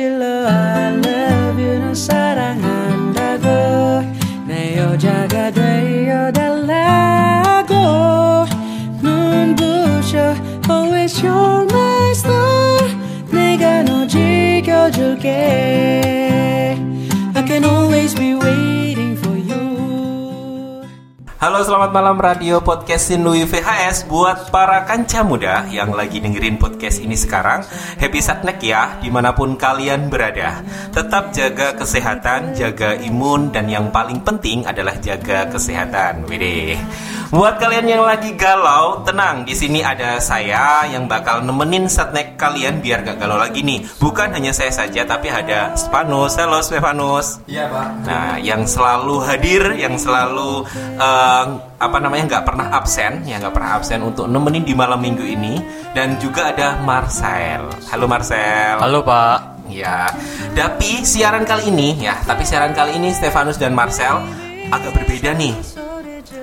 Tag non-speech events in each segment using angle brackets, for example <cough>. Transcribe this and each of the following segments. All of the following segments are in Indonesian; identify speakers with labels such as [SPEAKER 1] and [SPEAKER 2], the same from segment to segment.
[SPEAKER 1] I love you 난 사랑한다고 내 여자가 되어 달라고 눈부셔 always you're my star 내가 너 지켜줄게 I can always be waiting for you
[SPEAKER 2] Halo selamat malam Radio Podcast Sinlui VHS Buat para kanca muda yang lagi dengerin podcast ini sekarang Happy Satnek ya dimanapun kalian berada Tetap jaga kesehatan, jaga imun Dan yang paling penting adalah jaga kesehatan Widih Buat kalian yang lagi galau, tenang di sini ada saya yang bakal nemenin Satnek kalian biar gak galau lagi nih Bukan hanya saya saja tapi ada Stefanus Halo Stefanus
[SPEAKER 3] Iya pak.
[SPEAKER 2] Nah, yang selalu hadir, yang selalu eh, apa namanya nggak pernah absen, ya nggak pernah absen untuk nemenin di malam minggu ini. Dan juga ada Marcel. Halo Marcel.
[SPEAKER 4] Halo Pak.
[SPEAKER 2] Ya, tapi siaran kali ini ya, tapi siaran kali ini Stefanus dan Marcel agak berbeda nih.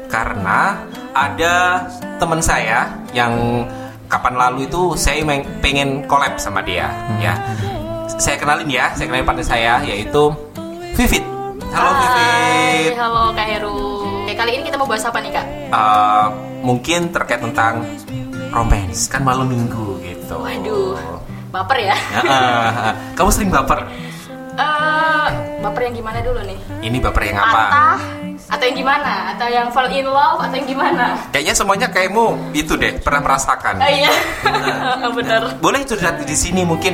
[SPEAKER 2] Karena ada teman saya yang kapan lalu itu saya meng- pengen collab sama dia ya. Saya kenalin ya, saya kenalin partner saya yaitu Vivit. Halo
[SPEAKER 5] Hai,
[SPEAKER 2] Vivit.
[SPEAKER 5] halo Kak Heru. Oke, kali ini kita mau bahas apa nih Kak?
[SPEAKER 2] Eh, mungkin terkait tentang romance kan malam minggu gitu.
[SPEAKER 5] Waduh, baper ya?
[SPEAKER 2] Ya, eh, kamu sering baper.
[SPEAKER 5] Eh, baper yang gimana dulu nih?
[SPEAKER 2] Ini baper yang apa?
[SPEAKER 5] Patah? Atau yang gimana? Atau yang fall in love? Atau yang gimana?
[SPEAKER 2] Kayaknya semuanya kayakmu itu deh pernah merasakan.
[SPEAKER 5] Ah iya, <laughs> bener.
[SPEAKER 2] Boleh curhat di sini mungkin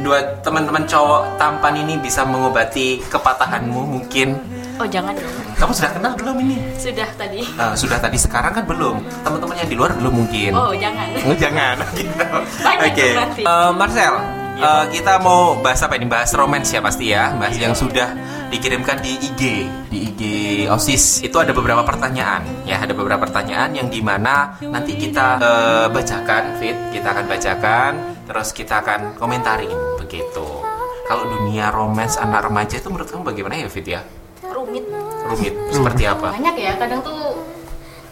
[SPEAKER 2] dua teman-teman cowok tampan ini bisa mengobati kepatahanmu mungkin.
[SPEAKER 5] Oh jangan dong,
[SPEAKER 2] Kamu sudah kenal belum ini?
[SPEAKER 5] sudah tadi.
[SPEAKER 2] Eh, sudah tadi sekarang kan belum. Teman-teman yang di luar belum mungkin.
[SPEAKER 5] Oh jangan.
[SPEAKER 2] Eh, <laughs> Jangan gitu.
[SPEAKER 5] Banyak
[SPEAKER 2] Oke.
[SPEAKER 5] yang Iya, mati.
[SPEAKER 2] Eh, Marcel, eh, kita mau bahas apa ini? Bahas romance ya pasti ya.
[SPEAKER 5] Iya.
[SPEAKER 2] Bahas yang sudah dikirimkan di IG, di IG OSIS. Itu ada beberapa pertanyaan. Ya, ada beberapa pertanyaan yang dimana nanti kita eh, bacakan, Fit. Kita akan bacakan, terus kita akan komentarin begitu. Kalau dunia romance anak remaja itu menurut kamu bagaimana ya, Fit ya?
[SPEAKER 5] Rumit.
[SPEAKER 2] Rumit seperti apa?
[SPEAKER 5] Banyak ya, kadang tuh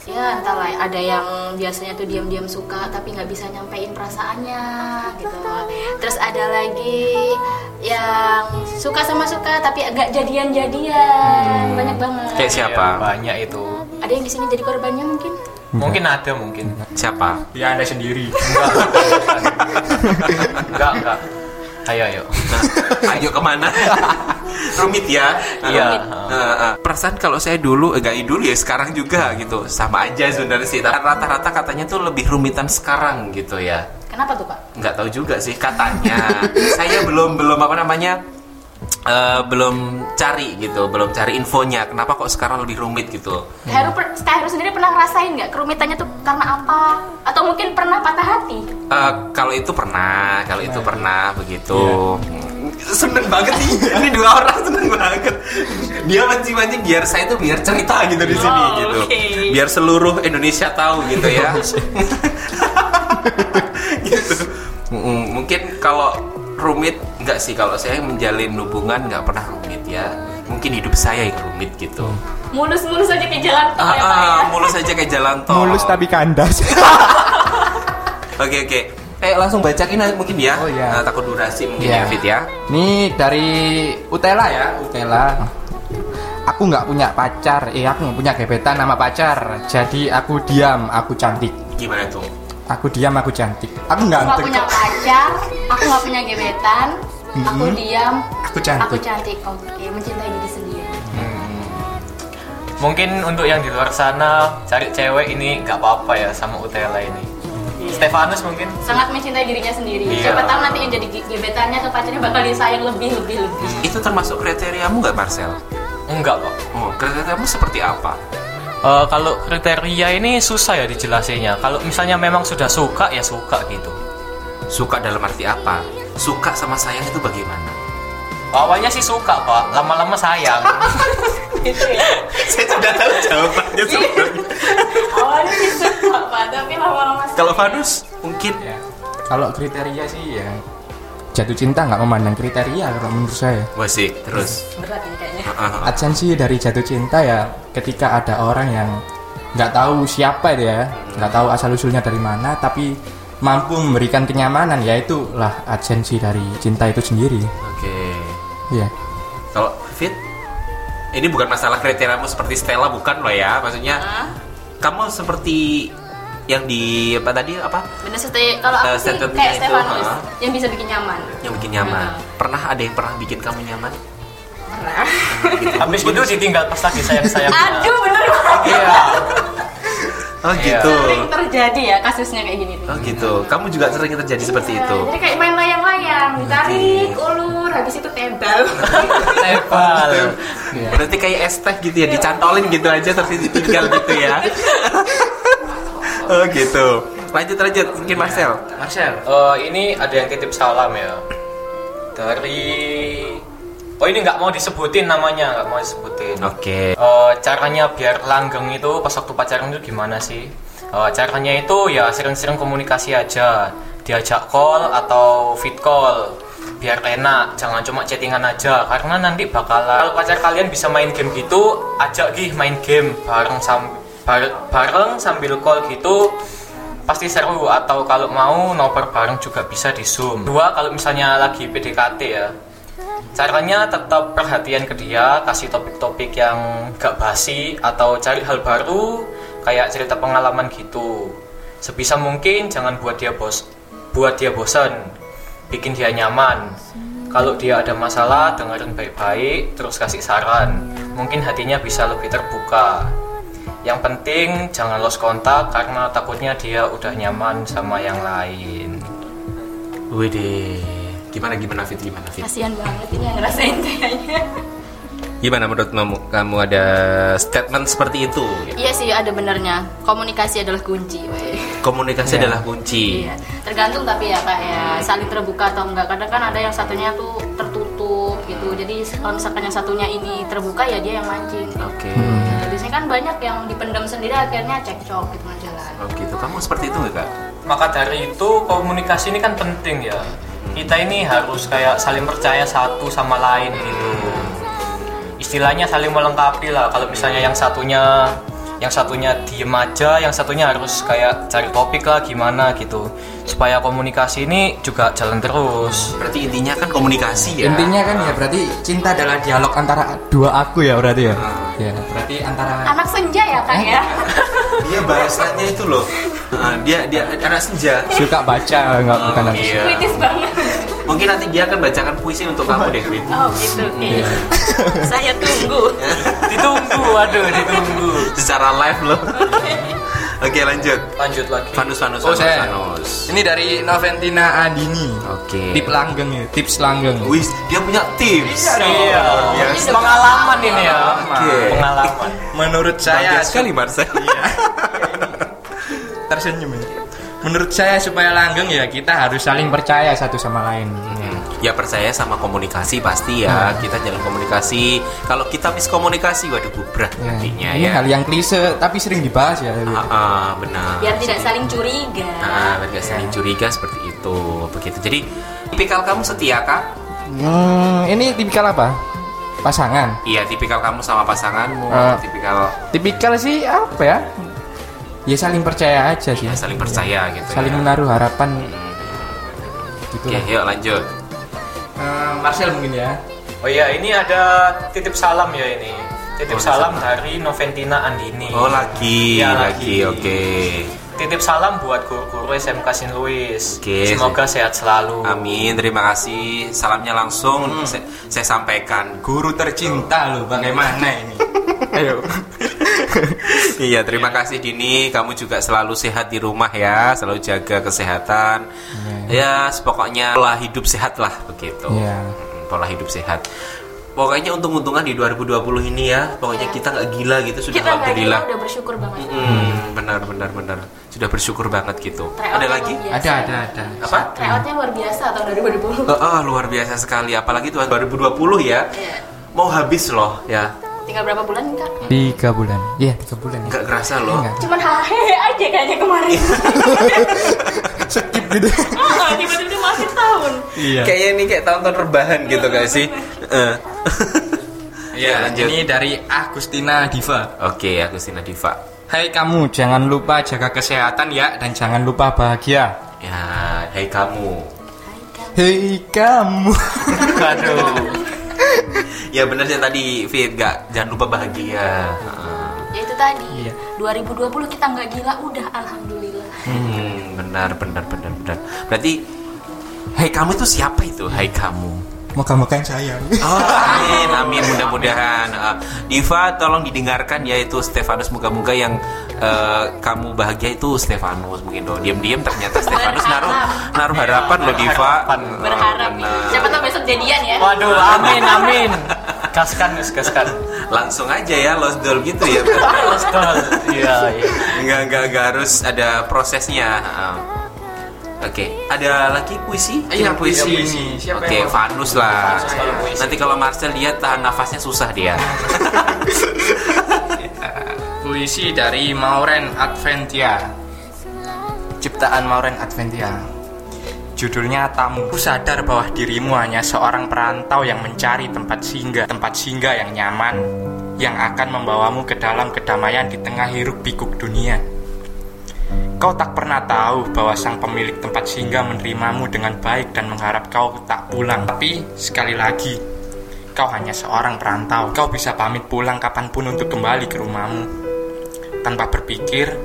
[SPEAKER 5] ya entahlah ada yang biasanya tuh diam-diam suka tapi nggak bisa nyampein perasaannya gitu terus ada lagi yang suka sama suka tapi agak jadian-jadian banyak banget
[SPEAKER 2] Kayak siapa?
[SPEAKER 3] Ya, banyak itu.
[SPEAKER 5] ada yang di sini jadi korbannya mungkin
[SPEAKER 3] Mungkin ada mungkin.
[SPEAKER 2] Siapa?
[SPEAKER 3] Ya anda <laughs> sendiri. Enggak. enggak enggak. Ayo ayo.
[SPEAKER 2] Nah, Ayo kemana? Rumit ya.
[SPEAKER 3] Iya.
[SPEAKER 2] Heeh, heeh. perasaan kalau saya dulu, eh, enggak dulu ya sekarang juga gitu, sama aja sebenarnya sih. Tapi Rata-rata katanya tuh lebih rumitan sekarang gitu ya.
[SPEAKER 5] kenapa tuh pak
[SPEAKER 2] Nggak tahu juga sih katanya. saya belum belum apa namanya. eh, belum cari gitu, belum cari infonya. Kenapa kok sekarang lebih rumit gitu?
[SPEAKER 5] Heru, per- Kak Heru sendiri pernah ngerasain nggak kerumitannya tuh karena apa atau mungkin pernah patah hati
[SPEAKER 2] Eh, kalau itu pernah, kalau itu
[SPEAKER 6] Iya.
[SPEAKER 2] pernah begitu. Seneng banget nih, <laughs> ini dua orang seneng banget. Dia mancing-mancing biar saya tuh biar cerita gitu di sini
[SPEAKER 5] Oh,
[SPEAKER 2] gitu,
[SPEAKER 5] oke.
[SPEAKER 2] biar seluruh Indonesia tahu gitu ya.
[SPEAKER 6] Iya.
[SPEAKER 2] <laughs> gitu. Mm, Mungkin kalau rumit nggak sih kalau saya menjalin hubungan nggak pernah rumit ya. Mungkin hidup saya yang rumit gitu.
[SPEAKER 5] mulus-mulus aja ke jalan tol
[SPEAKER 2] Ah,
[SPEAKER 5] ya pak
[SPEAKER 2] ah,
[SPEAKER 5] ya
[SPEAKER 2] mulus aja kayak jalan tol.
[SPEAKER 6] mulus tapi kandas
[SPEAKER 2] Oke oke. Eh langsung bacain aja mungkin ya.
[SPEAKER 4] Oh, iya.
[SPEAKER 2] Nah, takut durasi mungkin ya
[SPEAKER 4] Iya.
[SPEAKER 2] Fit ya.
[SPEAKER 4] Ini dari Utela ya, Utela. Aku nggak punya pacar, eh aku nggak punya gebetan nama pacar. Jadi aku diam, aku cantik.
[SPEAKER 2] Gimana tuh?
[SPEAKER 4] Aku diam, aku cantik. Aku nggak
[SPEAKER 5] aku nggak punya pacar aku nggak punya gebetan aku diam
[SPEAKER 4] Aku cantik.
[SPEAKER 5] aku cantik oke mencintai diri sendiri
[SPEAKER 3] Mungkin untuk yang di luar sana cari cewek ini nggak apa-apa ya sama Utela ini. Stefanus mungkin.
[SPEAKER 5] sangat mencintai dirinya sendiri
[SPEAKER 2] Iya.
[SPEAKER 5] siapa tahu nanti yang jadi ge- gebetannya atau pacarnya bakal disayang lebih lebih lebih
[SPEAKER 2] Itu termasuk kriteriamu nggak Marcel?
[SPEAKER 3] Enggak pak.
[SPEAKER 2] Oh, kriteriamu seperti apa?
[SPEAKER 3] Eh, kalau kriteria ini susah ya dijelasinnya. Kalau misalnya memang sudah suka ya suka gitu.
[SPEAKER 2] Suka dalam arti apa? Suka sama sayang itu bagaimana? <laughs>
[SPEAKER 3] Awalnya sih suka pak, lama-lama sayang. <laughs>
[SPEAKER 2] Saya sudah tahu jawabannya
[SPEAKER 4] <laughs>
[SPEAKER 2] sebenarnya.
[SPEAKER 5] awalnya sih suka pak tapi lama-lama
[SPEAKER 2] Kalau Vanus mungkin
[SPEAKER 4] Iya. Kalau kriteria sih ya jatuh cinta nggak memandang kriteria kalau menurut saya.
[SPEAKER 2] Wasik terus.
[SPEAKER 5] berat ini kayaknya
[SPEAKER 4] Hmm.
[SPEAKER 2] Ah, ah, ah.
[SPEAKER 4] Adsensi dari jatuh cinta ya ketika ada orang yang nggak tahu siapa dia, nggak tahu asal usulnya dari mana, tapi ya mampu memberikan kenyamanan yaitu lah adsensi dari cinta itu sendiri.
[SPEAKER 2] Oke.
[SPEAKER 4] Iya.
[SPEAKER 2] Kalau fit, ini bukan masalah kriteriamu seperti Stella bukan loh ya, maksudnya
[SPEAKER 7] Hah?
[SPEAKER 2] kamu seperti yang di apa tadi apa
[SPEAKER 7] bener sih kalau
[SPEAKER 2] Eh,
[SPEAKER 7] aku sih
[SPEAKER 2] statementnya
[SPEAKER 7] kayak
[SPEAKER 2] itu,
[SPEAKER 7] Stefanus
[SPEAKER 2] ha?
[SPEAKER 7] yang bisa bikin nyaman
[SPEAKER 2] yang bikin nyaman?
[SPEAKER 7] Hmm.
[SPEAKER 2] Pernah ada yang pernah bikin kamu nyaman?
[SPEAKER 7] pernah
[SPEAKER 2] Gitu.
[SPEAKER 3] Habis itu ditinggal pas lagi sayang-sayang.
[SPEAKER 7] aduh bener banget
[SPEAKER 3] Iya.
[SPEAKER 2] Oh
[SPEAKER 3] Iya.
[SPEAKER 2] gitu.
[SPEAKER 7] sering terjadi ya kasusnya kayak gini tuh
[SPEAKER 2] Oh gitu. Kamu juga sering terjadi seperti itu.
[SPEAKER 7] jadi kayak main layang-layang ditarik
[SPEAKER 2] Iya.
[SPEAKER 7] ulur habis itu tebal
[SPEAKER 2] <laughs>
[SPEAKER 3] Tebal.
[SPEAKER 2] Berarti kayak es teh gitu ya, dicantolin gitu aja terus ditinggal gitu ya. oh gitu. Lanjut lanjut, mungkin Marcel.
[SPEAKER 3] Marcel, eh, ini ada yang titip salam ya dari. Oh ini nggak mau disebutin namanya, nggak mau disebutin.
[SPEAKER 2] Oke.
[SPEAKER 3] Eh, caranya biar langgeng itu pas waktu pacaran itu gimana sih? Eh, caranya itu ya sering-sering komunikasi aja, diajak call atau fit call, biar enak, jangan cuma chattingan aja, karena nanti bakalan kalau pacar kalian bisa main game gitu, ajak gih main game bareng sam bar- bareng sambil call gitu pasti seru atau kalau mau nobar bareng juga bisa di zoom dua kalau misalnya lagi PDKT ya Caranya tetap perhatian ke dia, kasih topik-topik yang gak basi atau cari hal baru, kayak cerita pengalaman gitu. Sebisa mungkin jangan buat dia bos, buat dia bosan, bikin dia nyaman. Kalau dia ada masalah, dengerin baik-baik, terus kasih saran. Mungkin hatinya bisa lebih terbuka. Yang penting jangan lost kontak karena takutnya dia udah nyaman sama yang lain.
[SPEAKER 2] Widih. Gimana gimana Fit? Gimana Fit?
[SPEAKER 7] kasihan banget ini yang ngerasain kayaknya
[SPEAKER 2] Gimana menurut kamu? Kamu ada statement seperti itu?
[SPEAKER 7] iya sih ada benernya komunikasi adalah kunci
[SPEAKER 2] Iya.
[SPEAKER 7] weh.
[SPEAKER 2] Komunikasi adalah kunci.
[SPEAKER 7] Iya, tergantung tapi ya kak ya saling terbuka atau enggak. Kadang kan ada yang satunya tuh tertutup gitu. Jadi kalau misalkan yang satunya ini terbuka ya dia yang mancing.
[SPEAKER 2] Oke.
[SPEAKER 7] Nah, Biasanya kan banyak yang dipendam sendiri akhirnya cekcok gitu kan jalan.
[SPEAKER 2] Oh gitu. Kamu seperti itu nggak? Kak?
[SPEAKER 3] Maka dari itu komunikasi ini kan penting ya. Kita ini harus kayak saling percaya satu sama lain gitu. Istilahnya saling melengkapi lah. Kalau misalnya yang satunya yang satunya diem aja, yang satunya harus kayak cari topik lah gimana gitu. Supaya komunikasi ini juga jalan terus.
[SPEAKER 2] Berarti intinya kan komunikasi ya.
[SPEAKER 4] Intinya kan ya berarti cinta adalah dialog antara dua aku ya berarti ya.
[SPEAKER 2] Ah,
[SPEAKER 4] Ya, berarti antara
[SPEAKER 7] Anak senja ya kak ya.
[SPEAKER 2] Eh? dia Iya, bahasanya itu loh. Nah, dia dia anak senja.
[SPEAKER 4] suka baca enggak
[SPEAKER 2] Oh,
[SPEAKER 4] bukan anak
[SPEAKER 2] iya.
[SPEAKER 7] <laughs> Kritis banget.
[SPEAKER 2] Mungkin nanti dia akan bacakan puisi untuk kamu deh, Fit.
[SPEAKER 7] Oh gitu. oke.
[SPEAKER 4] Iya.
[SPEAKER 7] Saya tunggu.
[SPEAKER 3] Ditunggu, waduh, ditunggu.
[SPEAKER 2] Secara live loh. <laughs> Oke, lanjut.
[SPEAKER 3] Lanjut lagi.
[SPEAKER 2] Vanus, Vanus,
[SPEAKER 4] Oh,
[SPEAKER 2] Vanus,
[SPEAKER 4] saya.
[SPEAKER 2] Vanus.
[SPEAKER 4] Ini dari Noventina Andini.
[SPEAKER 2] Oke.
[SPEAKER 4] Tips langgeng ya, tips langgeng.
[SPEAKER 2] Wih, dia punya tips.
[SPEAKER 3] Iya.
[SPEAKER 2] biasa.
[SPEAKER 3] Pengalaman ini ya.
[SPEAKER 2] Oke.
[SPEAKER 3] Pengalaman.
[SPEAKER 4] Menurut
[SPEAKER 2] Bangga
[SPEAKER 4] saya
[SPEAKER 2] sekali <laughs> Marcel.
[SPEAKER 4] tersenyum ya. Menurut saya supaya langgeng ya kita harus saling percaya satu sama lain. Iya.
[SPEAKER 2] Ya percaya sama komunikasi pasti ya.
[SPEAKER 4] Hmm.
[SPEAKER 2] Kita jalan komunikasi. Kalau kita miskomunikasi, waduh bubrah
[SPEAKER 4] Ya,
[SPEAKER 2] nantinya
[SPEAKER 4] ini
[SPEAKER 2] ya.
[SPEAKER 4] hal yang klise tapi sering dibahas ya.
[SPEAKER 2] Ah, ah, benar.
[SPEAKER 7] Biar tidak saling curiga.
[SPEAKER 2] Nah, biar nggak
[SPEAKER 4] Iya.
[SPEAKER 2] saling curiga seperti itu. Begitu. Jadi, tipikal kamu setia kak?
[SPEAKER 4] Hmm, ini tipikal apa? Pasangan.
[SPEAKER 2] Iya, tipikal kamu sama pasanganmu.
[SPEAKER 4] Ah.
[SPEAKER 2] Tipikal
[SPEAKER 4] Tipikal sih apa ya? Ya saling percaya aja sih.
[SPEAKER 2] ya, saling percaya gitu.
[SPEAKER 4] iya, Saling
[SPEAKER 2] ya.
[SPEAKER 4] menaruh harapan gitu
[SPEAKER 2] Oke,
[SPEAKER 4] lah.
[SPEAKER 2] yuk lanjut.
[SPEAKER 4] Eh, Marcel mungkin ya.
[SPEAKER 3] Oh iya, ini ada titip salam ya ini. Titip
[SPEAKER 2] Oh,
[SPEAKER 3] salam
[SPEAKER 2] salam.
[SPEAKER 3] dari Noventina Andini.
[SPEAKER 2] Oh lagi,
[SPEAKER 3] Iya,
[SPEAKER 2] lagi,
[SPEAKER 3] lagi.
[SPEAKER 2] oke.
[SPEAKER 3] Titip salam buat guru-guru SMK Sin Louis.
[SPEAKER 2] Oke.
[SPEAKER 3] Semoga sehat selalu.
[SPEAKER 2] Amin, terima kasih. Salamnya langsung saya, saya sampaikan.
[SPEAKER 4] Guru tercinta loh, bagaimana ini? Ayo.
[SPEAKER 2] iya, terima kasih Dini. Kamu juga selalu sehat di rumah ya, selalu jaga kesehatan. Ya, pokoknya pola hidup sehat lah begitu.
[SPEAKER 4] Iya.
[SPEAKER 2] Mm, Pola hidup sehat. Pokoknya untung-untungan di 2020 ini ya. Pokoknya kita nggak gila gitu sudah
[SPEAKER 7] Iya. Kita nggak
[SPEAKER 2] alhamdulillah.
[SPEAKER 7] udah bersyukur banget.
[SPEAKER 2] Mm, benar benar benar. Sudah bersyukur banget gitu.
[SPEAKER 7] Tryout-nya
[SPEAKER 2] Ada lagi?
[SPEAKER 7] luar biasa.
[SPEAKER 4] Ada, ada, ada.
[SPEAKER 2] Apa?
[SPEAKER 7] Tryoutnya luar biasa tahun 2020.
[SPEAKER 2] Eh, eh, luar biasa sekali apalagi tuh 2020 ya
[SPEAKER 7] Iya.
[SPEAKER 2] mau habis loh ya
[SPEAKER 7] Tinggal berapa bulan kak?
[SPEAKER 4] Tiga bulan. Iya, tiga bulan.
[SPEAKER 2] nggak kerasa loh
[SPEAKER 5] Iya.
[SPEAKER 4] Nggak.
[SPEAKER 7] Cuman hahehe aja kayaknya kemarin.
[SPEAKER 4] Skip gitu.
[SPEAKER 7] Ah, tiba-tiba masih tahun
[SPEAKER 4] Iya.
[SPEAKER 2] kayaknya ini kayak tahun-tahun rebahan gitu gak sih Eh. <laughs> Ya,
[SPEAKER 4] Iya,
[SPEAKER 2] lanjut.
[SPEAKER 4] ini dari Agustina Diva.
[SPEAKER 2] oke Agustina Diva
[SPEAKER 4] Hai kamu, jangan lupa jaga kesehatan ya dan jangan lupa bahagia.
[SPEAKER 2] ya hai kamu
[SPEAKER 4] Hei kamu. <laughs>
[SPEAKER 3] Aduh.
[SPEAKER 2] <laughs> ya bener sih tadi Fit gak jangan lupa bahagia Heeh.
[SPEAKER 5] ya itu tadi 2020 kita nggak gila udah alhamdulillah
[SPEAKER 2] hmm, benar benar benar benar berarti Hai kamu itu siapa itu Hai kamu
[SPEAKER 4] Moga-moga yang sayang.
[SPEAKER 2] Oh, amin, amin. Mudah-mudahan Uh, Diva tolong didengarkan yaitu Stefanus moga-moga yang uh, kamu bahagia itu Stefanus mungkin loh. Diam-diam ternyata Stefanus naruh naruh harapan loh Diva.
[SPEAKER 3] Harapan.
[SPEAKER 2] Uh,
[SPEAKER 5] berharap
[SPEAKER 2] benar.
[SPEAKER 5] siapa tahu besok jadian ya
[SPEAKER 3] Waduh,
[SPEAKER 2] <laughs>
[SPEAKER 3] amin, amin. Gaskan, Gus, gaskan.
[SPEAKER 2] Langsung aja ya lost doll gitu ya. Enggak
[SPEAKER 3] Let's go. Iya, iya.
[SPEAKER 2] enggak enggak harus ada prosesnya. Uh, Oke, ada lagi puisi? Kirim
[SPEAKER 4] Iya, puisi. Siapa
[SPEAKER 2] Oke,
[SPEAKER 4] yang mau?
[SPEAKER 2] Fanus lah.
[SPEAKER 3] Vanus kalau puisi.
[SPEAKER 2] Nanti kalau Marcel dia tahan nafasnya susah dia.
[SPEAKER 4] Puisi dari Mauren Adventia. Ciptaan Mauren Adventia. Judulnya Tamu. Ku sadar bahwa dirimu hanya seorang perantau yang mencari tempat singgah, tempat singgah yang nyaman, yang akan membawamu ke dalam kedamaian di tengah hiruk pikuk dunia. Kau tak pernah tahu bahwa sang pemilik tempat singgah menerimamu dengan baik dan mengharap kau tak pulang. Tapi sekali lagi, kau hanya seorang perantau. Kau bisa pamit pulang kapanpun untuk kembali ke rumahmu. Tanpa berpikir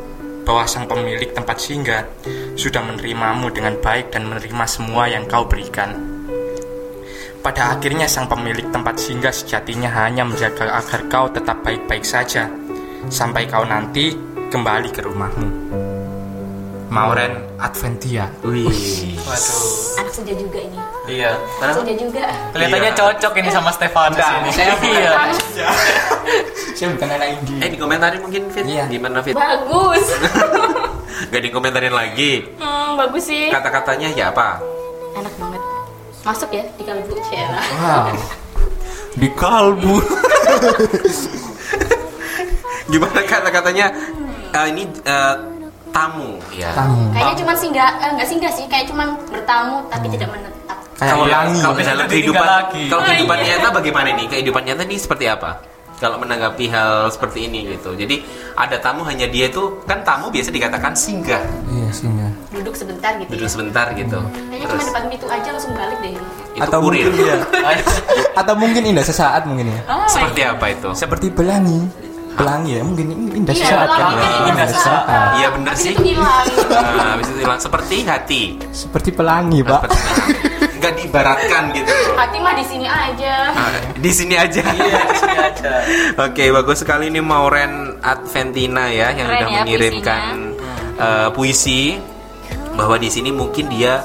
[SPEAKER 4] bahwa sang pemilik tempat singgah sudah menerimamu dengan baik dan menerima semua yang kau berikan. Pada akhirnya sang pemilik tempat singgah sejatinya hanya menjaga agar kau tetap baik-baik saja sampai kau nanti kembali ke rumahmu. Mauren Adventia.
[SPEAKER 2] Wih.
[SPEAKER 3] Waduh.
[SPEAKER 5] anak sudah juga ini
[SPEAKER 3] Iya.
[SPEAKER 5] anak sudah juga
[SPEAKER 3] Kelihatannya
[SPEAKER 2] Iya.
[SPEAKER 3] cocok ini sama Stefanus ini. <laughs> Iya.
[SPEAKER 5] Ah,
[SPEAKER 4] Saya bukan anak
[SPEAKER 2] Eh dikomentarin mungkin Fit?
[SPEAKER 4] Iya.
[SPEAKER 2] Gimana Fit?
[SPEAKER 5] bagus
[SPEAKER 2] Gak dikomentarin lagi.
[SPEAKER 5] hmm, bagus sih
[SPEAKER 2] Kata-katanya ya apa?
[SPEAKER 5] enak banget masuk ya di kalbu Ciela
[SPEAKER 4] Wow.
[SPEAKER 2] Di kalbu. Gimana kata-katanya? Eh, ini eh, tamu ya.
[SPEAKER 4] Tamu.
[SPEAKER 5] kayaknya cuma singgah eh, nggak singgah sih kayak cuma bertamu tapi tidak menetap
[SPEAKER 4] Kayak
[SPEAKER 2] Kalau
[SPEAKER 4] pelangi.
[SPEAKER 2] kalau dalam
[SPEAKER 3] Itu
[SPEAKER 2] kehidupan
[SPEAKER 3] ditinggal lagi.
[SPEAKER 2] kalau
[SPEAKER 5] Oh,
[SPEAKER 2] kehidupan
[SPEAKER 5] iya.
[SPEAKER 2] nyata bagaimana ini? Kehidupan nyata ini seperti apa? Kalau menanggapi hal seperti ini gitu. Jadi ada tamu hanya dia itu kan tamu biasa dikatakan singgah
[SPEAKER 4] Iya, singgah.
[SPEAKER 5] duduk sebentar gitu
[SPEAKER 2] duduk
[SPEAKER 5] ya.
[SPEAKER 2] sebentar gitu.
[SPEAKER 5] kayaknya cuma
[SPEAKER 2] Terus
[SPEAKER 5] depan pintu aja langsung balik deh
[SPEAKER 2] itu kurir.
[SPEAKER 4] mungkin ya. Atau mungkin indah sesaat mungkin ya.
[SPEAKER 5] oh
[SPEAKER 2] Seperti apa itu?
[SPEAKER 4] Seperti pelangi. Pelangi ya mungkin ini indah
[SPEAKER 5] Iya,
[SPEAKER 4] sesaat kan.
[SPEAKER 5] pelangi kan
[SPEAKER 4] Indah
[SPEAKER 5] indah
[SPEAKER 4] sesaat.
[SPEAKER 5] sesaat.
[SPEAKER 2] Iya benar
[SPEAKER 5] habis
[SPEAKER 2] sih.
[SPEAKER 5] itu
[SPEAKER 2] <laughs>
[SPEAKER 5] hilang
[SPEAKER 2] Nah, habis itu hilang seperti hati.
[SPEAKER 4] Seperti pelangi, Pak.
[SPEAKER 2] Seperti nggak diibaratkan gitu.
[SPEAKER 5] hati mah di sini aja
[SPEAKER 2] Ah, di sini aja.
[SPEAKER 5] Iya,
[SPEAKER 3] Sini aja.
[SPEAKER 2] <laughs> Oke, bagus sekali ini Mauren Adventina ya yang
[SPEAKER 5] Keren
[SPEAKER 2] sudah
[SPEAKER 5] ya
[SPEAKER 2] mengirimkan eh, puisi bahwa di sini mungkin dia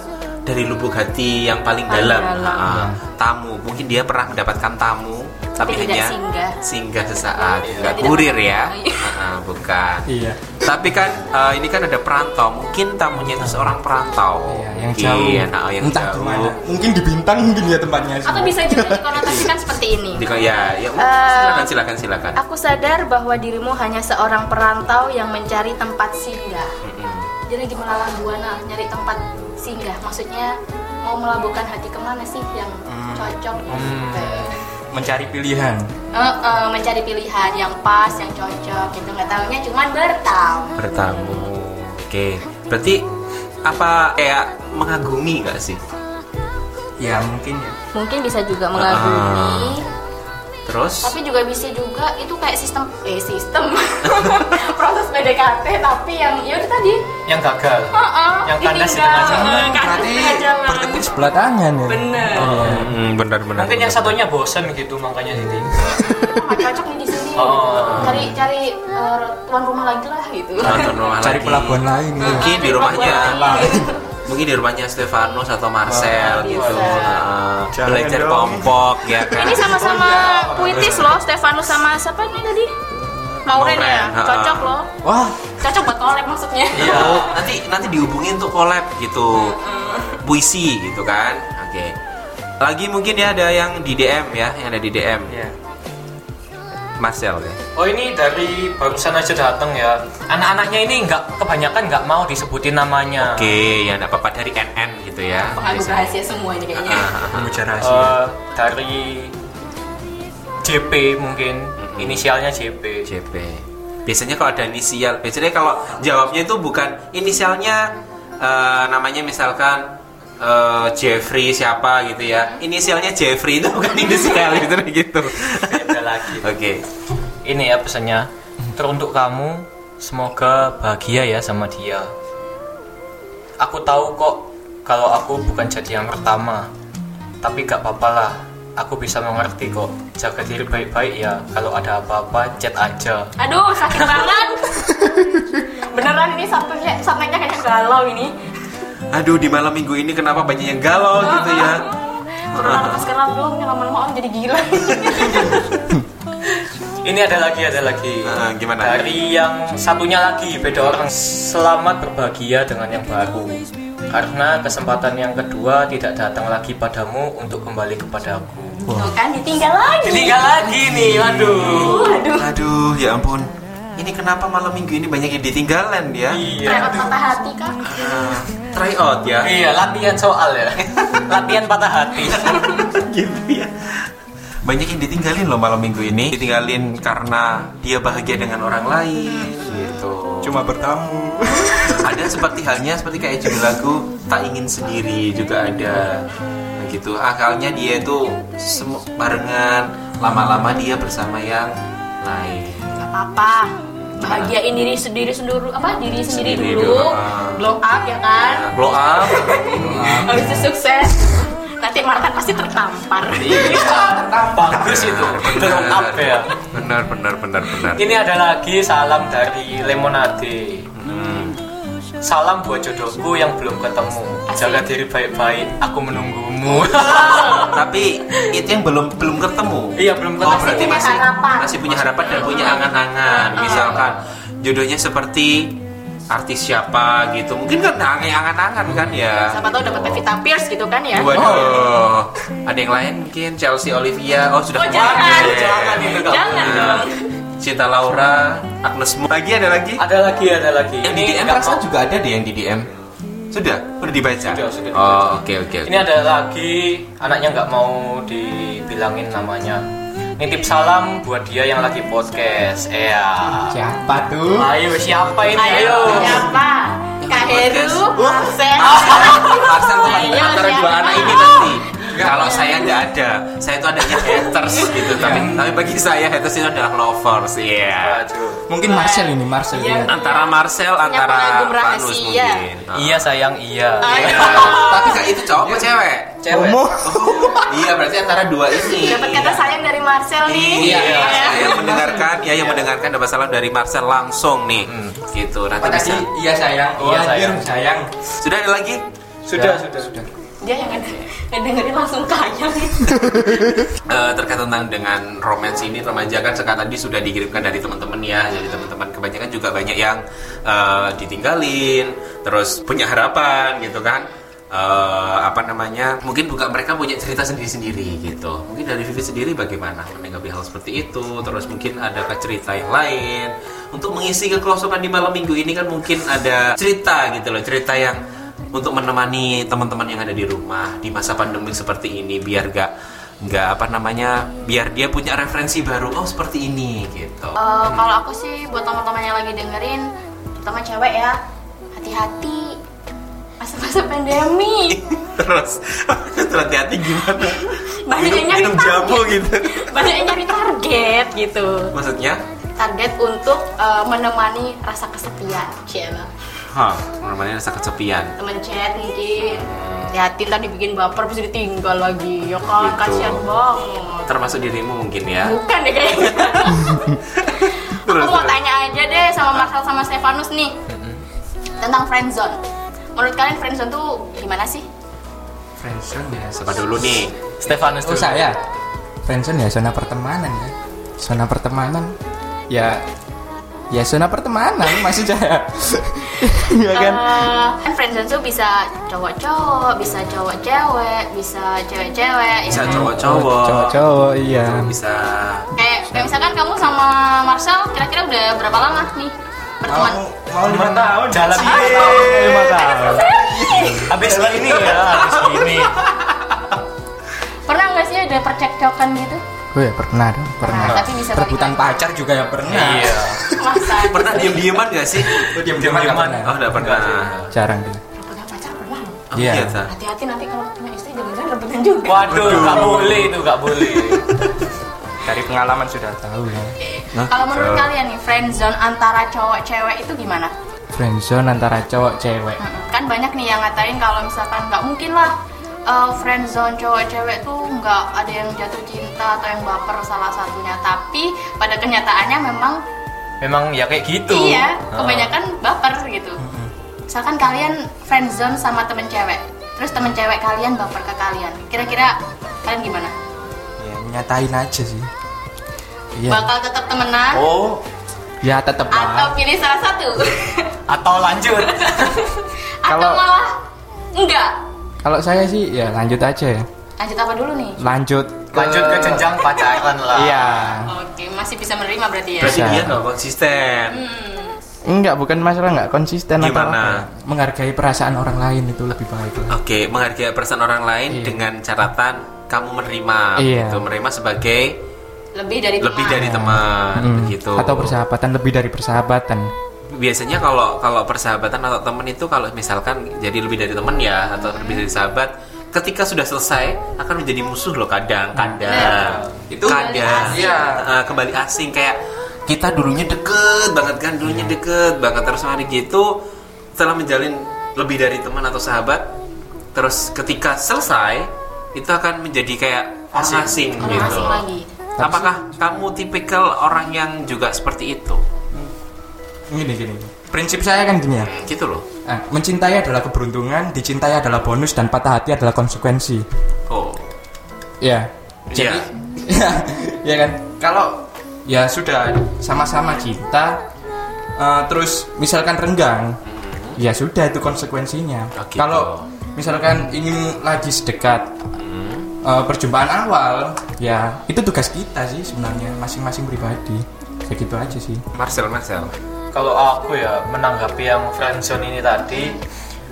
[SPEAKER 2] dari lubuk hati yang paling
[SPEAKER 5] Paling
[SPEAKER 2] dalam,
[SPEAKER 5] dalam.
[SPEAKER 2] Ah, tamu. Mungkin dia pernah mendapatkan tamu tapi,
[SPEAKER 5] Tapi tidak
[SPEAKER 2] hanya
[SPEAKER 5] singgah.
[SPEAKER 2] sesaat. Enggak
[SPEAKER 5] Tidak
[SPEAKER 2] kurir
[SPEAKER 5] pernah. Oh, iya.
[SPEAKER 2] ya. Ah, ah, bukan.
[SPEAKER 4] Iya.
[SPEAKER 2] Tapi kan eh, ini kan ada perantau. Mungkin tamunya itu seorang perantau.
[SPEAKER 4] Iya, yang
[SPEAKER 2] Mungkin,
[SPEAKER 4] jauh.
[SPEAKER 2] ah, yang
[SPEAKER 4] Entah
[SPEAKER 2] jauh.
[SPEAKER 4] gimana. Mungkin di bintang mungkin ya tempatnya.
[SPEAKER 5] atau bisa juga dikonotasikan seperti ini
[SPEAKER 2] Dika- ya, ya,
[SPEAKER 5] Eh,
[SPEAKER 2] silakan silakan silakan.
[SPEAKER 5] Aku sadar bahwa dirimu hanya seorang perantau yang mencari tempat singgah. Jadi lagi melalang buana, nyari tempat singgah. Maksudnya mau melabuhkan hati kemana sih yang cocok? gitu.
[SPEAKER 4] mencari pilihan.
[SPEAKER 5] Eh, eh, mencari pilihan yang pas, yang cocok. Gitu nggak tahunya cuman bertamu.
[SPEAKER 2] bertamu oke berarti apa kayak mengagumi nggak sih
[SPEAKER 4] Ya mungkin ya.
[SPEAKER 5] Mungkin bisa juga mengagumi,
[SPEAKER 2] terus
[SPEAKER 5] tapi juga bisa juga itu kayak sistem, eh sistem <laughs> proses PDKT tapi yang ya udah tadi.
[SPEAKER 3] Yang gagal.
[SPEAKER 5] Heeh,
[SPEAKER 3] Yang kandas di
[SPEAKER 5] ditinggal.
[SPEAKER 3] tengah jalan.
[SPEAKER 5] Eh, kandas di tengah jalan.
[SPEAKER 4] Pertemuan sebelah tangan ya.
[SPEAKER 5] Bener.
[SPEAKER 2] hmm, benar benar
[SPEAKER 3] Mungkin yang
[SPEAKER 2] benar.
[SPEAKER 3] satunya bosen gitu makanya ini.
[SPEAKER 5] nggak cocok nih di sini
[SPEAKER 3] Oh.
[SPEAKER 5] cari cari eh, tuan rumah lagi lah gitu
[SPEAKER 2] Nonton rumah
[SPEAKER 4] Cari
[SPEAKER 2] lagi.
[SPEAKER 4] pelabuhan lain ya.
[SPEAKER 2] mungkin Nah, di
[SPEAKER 5] Cari
[SPEAKER 2] rumahnya
[SPEAKER 5] pelabuhan lain.
[SPEAKER 2] mungkin di rumahnya Stefanus atau Marcel
[SPEAKER 5] Wah,
[SPEAKER 2] gitu
[SPEAKER 5] bisa.
[SPEAKER 2] Nah,
[SPEAKER 4] iya. Jangan
[SPEAKER 2] belajar
[SPEAKER 4] dong.
[SPEAKER 2] kompok ya kan
[SPEAKER 5] ini sama-sama puitis loh Stefanus sama siapa ini tadi Mauren ya
[SPEAKER 2] Mauren, ha.
[SPEAKER 5] cocok loh
[SPEAKER 4] Wah,
[SPEAKER 5] cocok buat kolek maksudnya
[SPEAKER 2] Iya. nanti nanti dihubungin untuk collab gitu puisi gitu kan oke lagi mungkin ya ada yang di DM ya yang ada di DM
[SPEAKER 3] Iya.
[SPEAKER 2] Marcel ya
[SPEAKER 3] Oh ini dari barusan aja datang ya. Anak-anaknya ini nggak kebanyakan nggak mau disebutin namanya. Eh,
[SPEAKER 2] Oke, ya enggak apa-apa dari NN gitu ya.
[SPEAKER 3] Ah.
[SPEAKER 5] pengaruh rahasia semua ini kayaknya
[SPEAKER 4] mengejar
[SPEAKER 3] Eh, dari JP mungkin inisialnya JP.
[SPEAKER 2] JP. Biasanya kalau ada inisial, biasanya kalau jawabnya itu bukan inisialnya eh, namanya misalkan eh, Jeffrey siapa gitu ya inisialnya Jeffrey itu
[SPEAKER 3] <laughs>
[SPEAKER 2] bukan inisial gitu gitu
[SPEAKER 3] Beda lagi.
[SPEAKER 2] oke
[SPEAKER 3] Ini ya pesannya. Teruntuk kamu, semoga bahagia ya sama dia. Aku tahu kok kalau aku bukan jadi yang pertama. Tapi gak apa-apa lah. Aku bisa mengerti kok. Jaga diri baik-baik ya. Kalau ada apa-apa, chat aja.
[SPEAKER 5] Aduh, sakit banget. Beneran ini subteknya, subteknya kayak galau ini.
[SPEAKER 2] aduh di malam minggu ini kenapa banyak yang galau gitu ya
[SPEAKER 3] Oh.
[SPEAKER 5] Corona lepas kerap belum, yang lama-lama orang jadi gila.
[SPEAKER 3] Ini ada lagi, ada lagi.
[SPEAKER 2] Ah, gimana?
[SPEAKER 3] Dari yang satunya lagi, beda orang. Selamat berbahagia dengan yang baru. Karena kesempatan yang kedua tidak datang lagi padamu untuk kembali kepadaku.
[SPEAKER 5] Tuh kan, ditinggal lagi.
[SPEAKER 3] Ketiga lagi nih, waduh.
[SPEAKER 5] Aduh,
[SPEAKER 2] aduh ya ampun ini kenapa malam minggu ini banyak yang ditinggalan ya
[SPEAKER 3] Iya.
[SPEAKER 5] repot patah hati kak.
[SPEAKER 2] Ah, try out ya
[SPEAKER 3] Iya, latihan soal ya. latihan patah hati.
[SPEAKER 2] gitu ya banyak yang ditinggalin loh malam minggu ini ditinggalin karena dia bahagia dengan orang lain gitu
[SPEAKER 4] Cuma bertamu.
[SPEAKER 2] ada seperti halnya seperti kayak judul lagu tak ingin sendiri juga ada Nah, gitu akalnya dia itu semu- barengan lama-lama dia bersama yang lain
[SPEAKER 5] Gak apa-apa. Bahagiain diri sendiri sendiri apa diri sendiri
[SPEAKER 2] Sendiri dulu.
[SPEAKER 5] dulu. Blow up ya kan.
[SPEAKER 2] Nah, blow up
[SPEAKER 5] Habis itu sukses. Nanti Martan pasti tertampar.
[SPEAKER 3] Bagus itu. Belum up ya.
[SPEAKER 2] benar benar benar benar
[SPEAKER 3] Ini ada lagi salam dari Lemonade.
[SPEAKER 2] Hmm.
[SPEAKER 3] Salam buat jodohku yang belum ketemu. Jaga diri baik-baik. Aku menunggumu.
[SPEAKER 5] <laughs>
[SPEAKER 2] tapi itu yang belum belum ketemu
[SPEAKER 3] Iya,
[SPEAKER 2] oh
[SPEAKER 3] belum ketemu.
[SPEAKER 2] berarti
[SPEAKER 5] punya
[SPEAKER 2] masih
[SPEAKER 5] harapan. Iya.
[SPEAKER 2] masih punya harapan dan punya angan-angan misalkan jodohnya seperti artis siapa gitu mungkin kan hanya angan-angan kan ya
[SPEAKER 5] Iya, Siapa tahu dapat Pevita Pierce gitu kan ya.
[SPEAKER 2] Waduh, ada yang lain mungkin Chelsea Olivia. Oh sudah
[SPEAKER 5] Oh, jangan.
[SPEAKER 2] kemarin.
[SPEAKER 3] Jangan itu, Kak.
[SPEAKER 5] Jangan
[SPEAKER 2] Nah,
[SPEAKER 5] dong.
[SPEAKER 2] Cinta Laura, Agnes Mo. Lagi ada lagi.
[SPEAKER 3] Ada lagi, ada lagi.
[SPEAKER 2] Yang di DM
[SPEAKER 3] nggak
[SPEAKER 2] perasaan
[SPEAKER 3] mau-
[SPEAKER 2] juga ada deh yang di DM. Sudah, sudah dibaca.
[SPEAKER 3] Sudah, sudah
[SPEAKER 2] Oh oke oke. oke.
[SPEAKER 3] Ini ada lagi anaknya nggak mau dibilangin namanya. Nitip salam buat dia yang lagi podcast. Iya.
[SPEAKER 4] Siapa tuh?
[SPEAKER 3] Ayo siapa ini?
[SPEAKER 5] Ayo,
[SPEAKER 3] Ayo.
[SPEAKER 5] siapa? Kak Heru, Marcel.
[SPEAKER 2] <laughs> Marcel tuh
[SPEAKER 5] Ayo,
[SPEAKER 2] antara dua
[SPEAKER 5] siapa?
[SPEAKER 2] anak
[SPEAKER 5] <laughs>
[SPEAKER 2] ini nanti. Kalau saya nggak ada, saya itu adanya haters gitu. Tapi tapi bagi saya haters itu adalah lovers. Iya.
[SPEAKER 3] Aduh.
[SPEAKER 4] Mungkin Marcel ini, Marcel.
[SPEAKER 5] Iya.
[SPEAKER 4] ini.
[SPEAKER 2] Antara Marcel, antara
[SPEAKER 5] pengagum
[SPEAKER 2] Pak Nus
[SPEAKER 5] rahasia.
[SPEAKER 2] mungkin. Ah.
[SPEAKER 3] Iya sayang iya.
[SPEAKER 5] Ayo.
[SPEAKER 2] Tapi kak itu cowok apa cewek?
[SPEAKER 3] Cewek.
[SPEAKER 4] Homo.
[SPEAKER 2] Iya berarti antara dua ini.
[SPEAKER 5] Iya. Dapat kata sayang dari Marcel nih.
[SPEAKER 2] Iya,
[SPEAKER 5] Iya.
[SPEAKER 2] yang mendengarkan, ya yang mendengarkan dapat salam dari Marcel langsung nih. Gitu, nanti bisa.
[SPEAKER 4] iya sayang.
[SPEAKER 3] Oh,
[SPEAKER 4] Iya
[SPEAKER 3] sayang.
[SPEAKER 4] sayang. sayang.
[SPEAKER 2] Sudah ada lagi?
[SPEAKER 3] Sudah, sudah, Ya, sudah.
[SPEAKER 5] Dia yang ada dengerin langsung kaya
[SPEAKER 2] Eh, terkait tentang dengan romance ini remaja kan sekarang tadi sudah dikirimkan dari teman-teman ya jadi teman-teman kebanyakan juga banyak yang eh, ditinggalin terus punya harapan gitu kan Eh, apa namanya mungkin juga mereka punya cerita sendiri-sendiri gitu mungkin dari Vivi sendiri bagaimana menanggapi hal seperti itu terus mungkin ada cerita yang lain untuk mengisi kekosongan di malam minggu ini kan mungkin ada cerita gitu loh cerita yang untuk menemani teman-teman yang ada di rumah di masa pandemi seperti ini biar gak nggak apa namanya biar dia punya referensi baru oh seperti ini gitu <laughs>
[SPEAKER 7] Eh, kalau aku sih buat teman-teman yang lagi dengerin, terutama cewek ya, hati-hati.
[SPEAKER 5] Masa-masa pandemi
[SPEAKER 2] terus <laughs> terus hati-hati gimana
[SPEAKER 5] Banyak
[SPEAKER 2] minum,
[SPEAKER 5] yang nyari
[SPEAKER 2] minum jamu gitu
[SPEAKER 5] <laughs> Banyak yang nyari target gitu
[SPEAKER 2] maksudnya
[SPEAKER 5] Target untuk eh, menemani rasa kesepian Ciela
[SPEAKER 2] Hah, namanya rasa kesepian
[SPEAKER 5] Temen chat mungkin Hati ntar dibikin baper bisa ditinggal lagi Ya kan
[SPEAKER 2] Gitu.
[SPEAKER 5] kasihan banget
[SPEAKER 2] termasuk dirimu mungkin ya
[SPEAKER 5] Bukan deh kayaknya
[SPEAKER 2] <laughs>
[SPEAKER 5] Aku
[SPEAKER 2] terus
[SPEAKER 5] mau
[SPEAKER 2] terus
[SPEAKER 5] tanya aja deh sama Marcel sama Stefanus nih Tentang friendzone Menurut kalian friendzone tuh gimana sih?
[SPEAKER 4] Friendzone ya.
[SPEAKER 2] Siapa dulu nih
[SPEAKER 3] Stefanus
[SPEAKER 4] Oh
[SPEAKER 3] dulu.
[SPEAKER 4] saya friendzone ya zona pertemanan ya. Zona pertemanan ya ya zona pertemanan <laughs> maksud saya.
[SPEAKER 2] Ya
[SPEAKER 4] Iya kan?
[SPEAKER 5] Eh, kan friendzone tuh bisa cowok-cowok, bisa cowok-cewek, bisa cewek-cewek. ya
[SPEAKER 2] bisa
[SPEAKER 5] kan?
[SPEAKER 2] cowok-cowok
[SPEAKER 4] Cowok-cowok iya.
[SPEAKER 2] bisa
[SPEAKER 5] Kayak, kayak misalkan kamu sama Marcel kira-kira udah berapa lama nih berteman?
[SPEAKER 4] mau lima tahun.
[SPEAKER 3] Jalan
[SPEAKER 4] Lima tahun.
[SPEAKER 3] habis ini ya, habis ini.
[SPEAKER 5] Pernah nggak sih ada percekcokan
[SPEAKER 2] <laughs>
[SPEAKER 5] gitu?
[SPEAKER 4] Oh ya pernah dong, pernah.
[SPEAKER 5] Tapi bisa balik
[SPEAKER 4] Rebutan
[SPEAKER 5] lagi.
[SPEAKER 4] pacar juga ya pernah.
[SPEAKER 3] Iya.
[SPEAKER 5] Masa?
[SPEAKER 2] pernah diem-dieman gak sih
[SPEAKER 4] Diam-diaman nggak
[SPEAKER 3] Diam-diaman.
[SPEAKER 4] pernah.
[SPEAKER 2] oh udah pernah
[SPEAKER 4] Jarang gitu.
[SPEAKER 5] Punya pacar pernah?
[SPEAKER 2] oh Apa
[SPEAKER 4] Iya.
[SPEAKER 2] ya, Ta?
[SPEAKER 5] Hati-hati nanti kalau punya istri jangan-jangan rebutan juga.
[SPEAKER 3] Waduh, nggak boleh itu, nggak boleh.
[SPEAKER 4] Dari pengalaman sudah tahu ya.
[SPEAKER 2] Nah,
[SPEAKER 5] Kalau menurut kalian nih friendzone antara cowok cewek itu gimana?
[SPEAKER 4] Friendzone antara cowok cewek.
[SPEAKER 5] Kan banyak nih yang ngatain kalau misalkan nggak mungkin lah eh, friendzone cowok cewek tuh nggak ada yang jatuh cinta atau yang baper salah satunya. Tapi pada kenyataannya memang
[SPEAKER 3] Memang ya kayak gitu.
[SPEAKER 5] iya
[SPEAKER 3] Nah,
[SPEAKER 5] kebanyakan baper gitu. Misalkan kalian friendzone sama temen cewek, terus temen cewek kalian baper ke kalian. Kira-kira kalian gimana?
[SPEAKER 4] Ya, nyatain aja sih. Iya.
[SPEAKER 5] Bakal tetap temenan?
[SPEAKER 3] Oh,
[SPEAKER 4] Ya tetap
[SPEAKER 5] atau
[SPEAKER 4] lah.
[SPEAKER 5] pilih salah satu <laughs>
[SPEAKER 3] atau lanjut.
[SPEAKER 5] atau
[SPEAKER 4] Kalau-
[SPEAKER 5] malah enggak
[SPEAKER 4] Kalau saya sih ya lanjut aja ya.
[SPEAKER 5] lanjut apa dulu nih
[SPEAKER 4] Lanjut. ke-
[SPEAKER 3] Lanjut ke jenjang pacaran lah.
[SPEAKER 4] Iya.
[SPEAKER 5] oke masih bisa menerima berarti ya
[SPEAKER 2] berarti
[SPEAKER 4] Bisa.
[SPEAKER 2] dia nggak konsisten.
[SPEAKER 4] Enggak, bukan masalah enggak konsisten atau
[SPEAKER 2] Gimana?
[SPEAKER 4] apa. Menghargai perasaan orang lain itu lebih baik lah.
[SPEAKER 2] Oke, menghargai perasaan orang lain
[SPEAKER 4] Iya.
[SPEAKER 2] dengan catatan kamu menerima,
[SPEAKER 4] Iya.
[SPEAKER 2] gitu. menerima sebagai
[SPEAKER 5] lebih dari
[SPEAKER 2] lebih
[SPEAKER 5] teman.
[SPEAKER 2] dari teman,
[SPEAKER 4] Mm.
[SPEAKER 2] gitu.
[SPEAKER 4] Atau persahabatan lebih dari persahabatan.
[SPEAKER 2] biasanya kalau kalau persahabatan atau temen itu kalau misalkan jadi lebih dari temen ya atau lebih dari sahabat ketika sudah selesai akan menjadi musuh loh kadang
[SPEAKER 5] Nah,
[SPEAKER 2] kadang itu kadang
[SPEAKER 4] asing. Iya.
[SPEAKER 2] Eh, kembali asing kayak kita dulunya deket banget kan dulunya
[SPEAKER 5] Iya.
[SPEAKER 2] deket banget terus hari gitu setelah menjalin lebih dari teman atau sahabat terus ketika selesai itu akan menjadi kayak orang asing,
[SPEAKER 5] Orang
[SPEAKER 2] gitu
[SPEAKER 5] asing lagi
[SPEAKER 2] apakah kamu tipikal orang yang juga seperti itu
[SPEAKER 4] Gini gini. Prinsip saya kan gini ya.
[SPEAKER 2] gitu loh
[SPEAKER 4] Eh, mencintai adalah keberuntungan, dicintai adalah bonus dan patah hati adalah konsekuensi.
[SPEAKER 2] oh
[SPEAKER 4] Ya. Jadi <laughs>
[SPEAKER 2] Iya.
[SPEAKER 4] ya, kan. Kalau ya sudah sama-sama cinta eh, terus misalkan renggang, ya sudah itu konsekuensinya.
[SPEAKER 2] Hmm. Oh, gitu.
[SPEAKER 4] Kalau misalkan ingin lagi sedekat
[SPEAKER 2] Hmm.
[SPEAKER 4] eh, perjumpaan awal, ya itu tugas kita sih sebenarnya masing-masing pribadi. Kayak gitu aja sih.
[SPEAKER 2] Marcel, Marcel.
[SPEAKER 3] Kalau aku ya menanggapi yang friendzone ini tadi,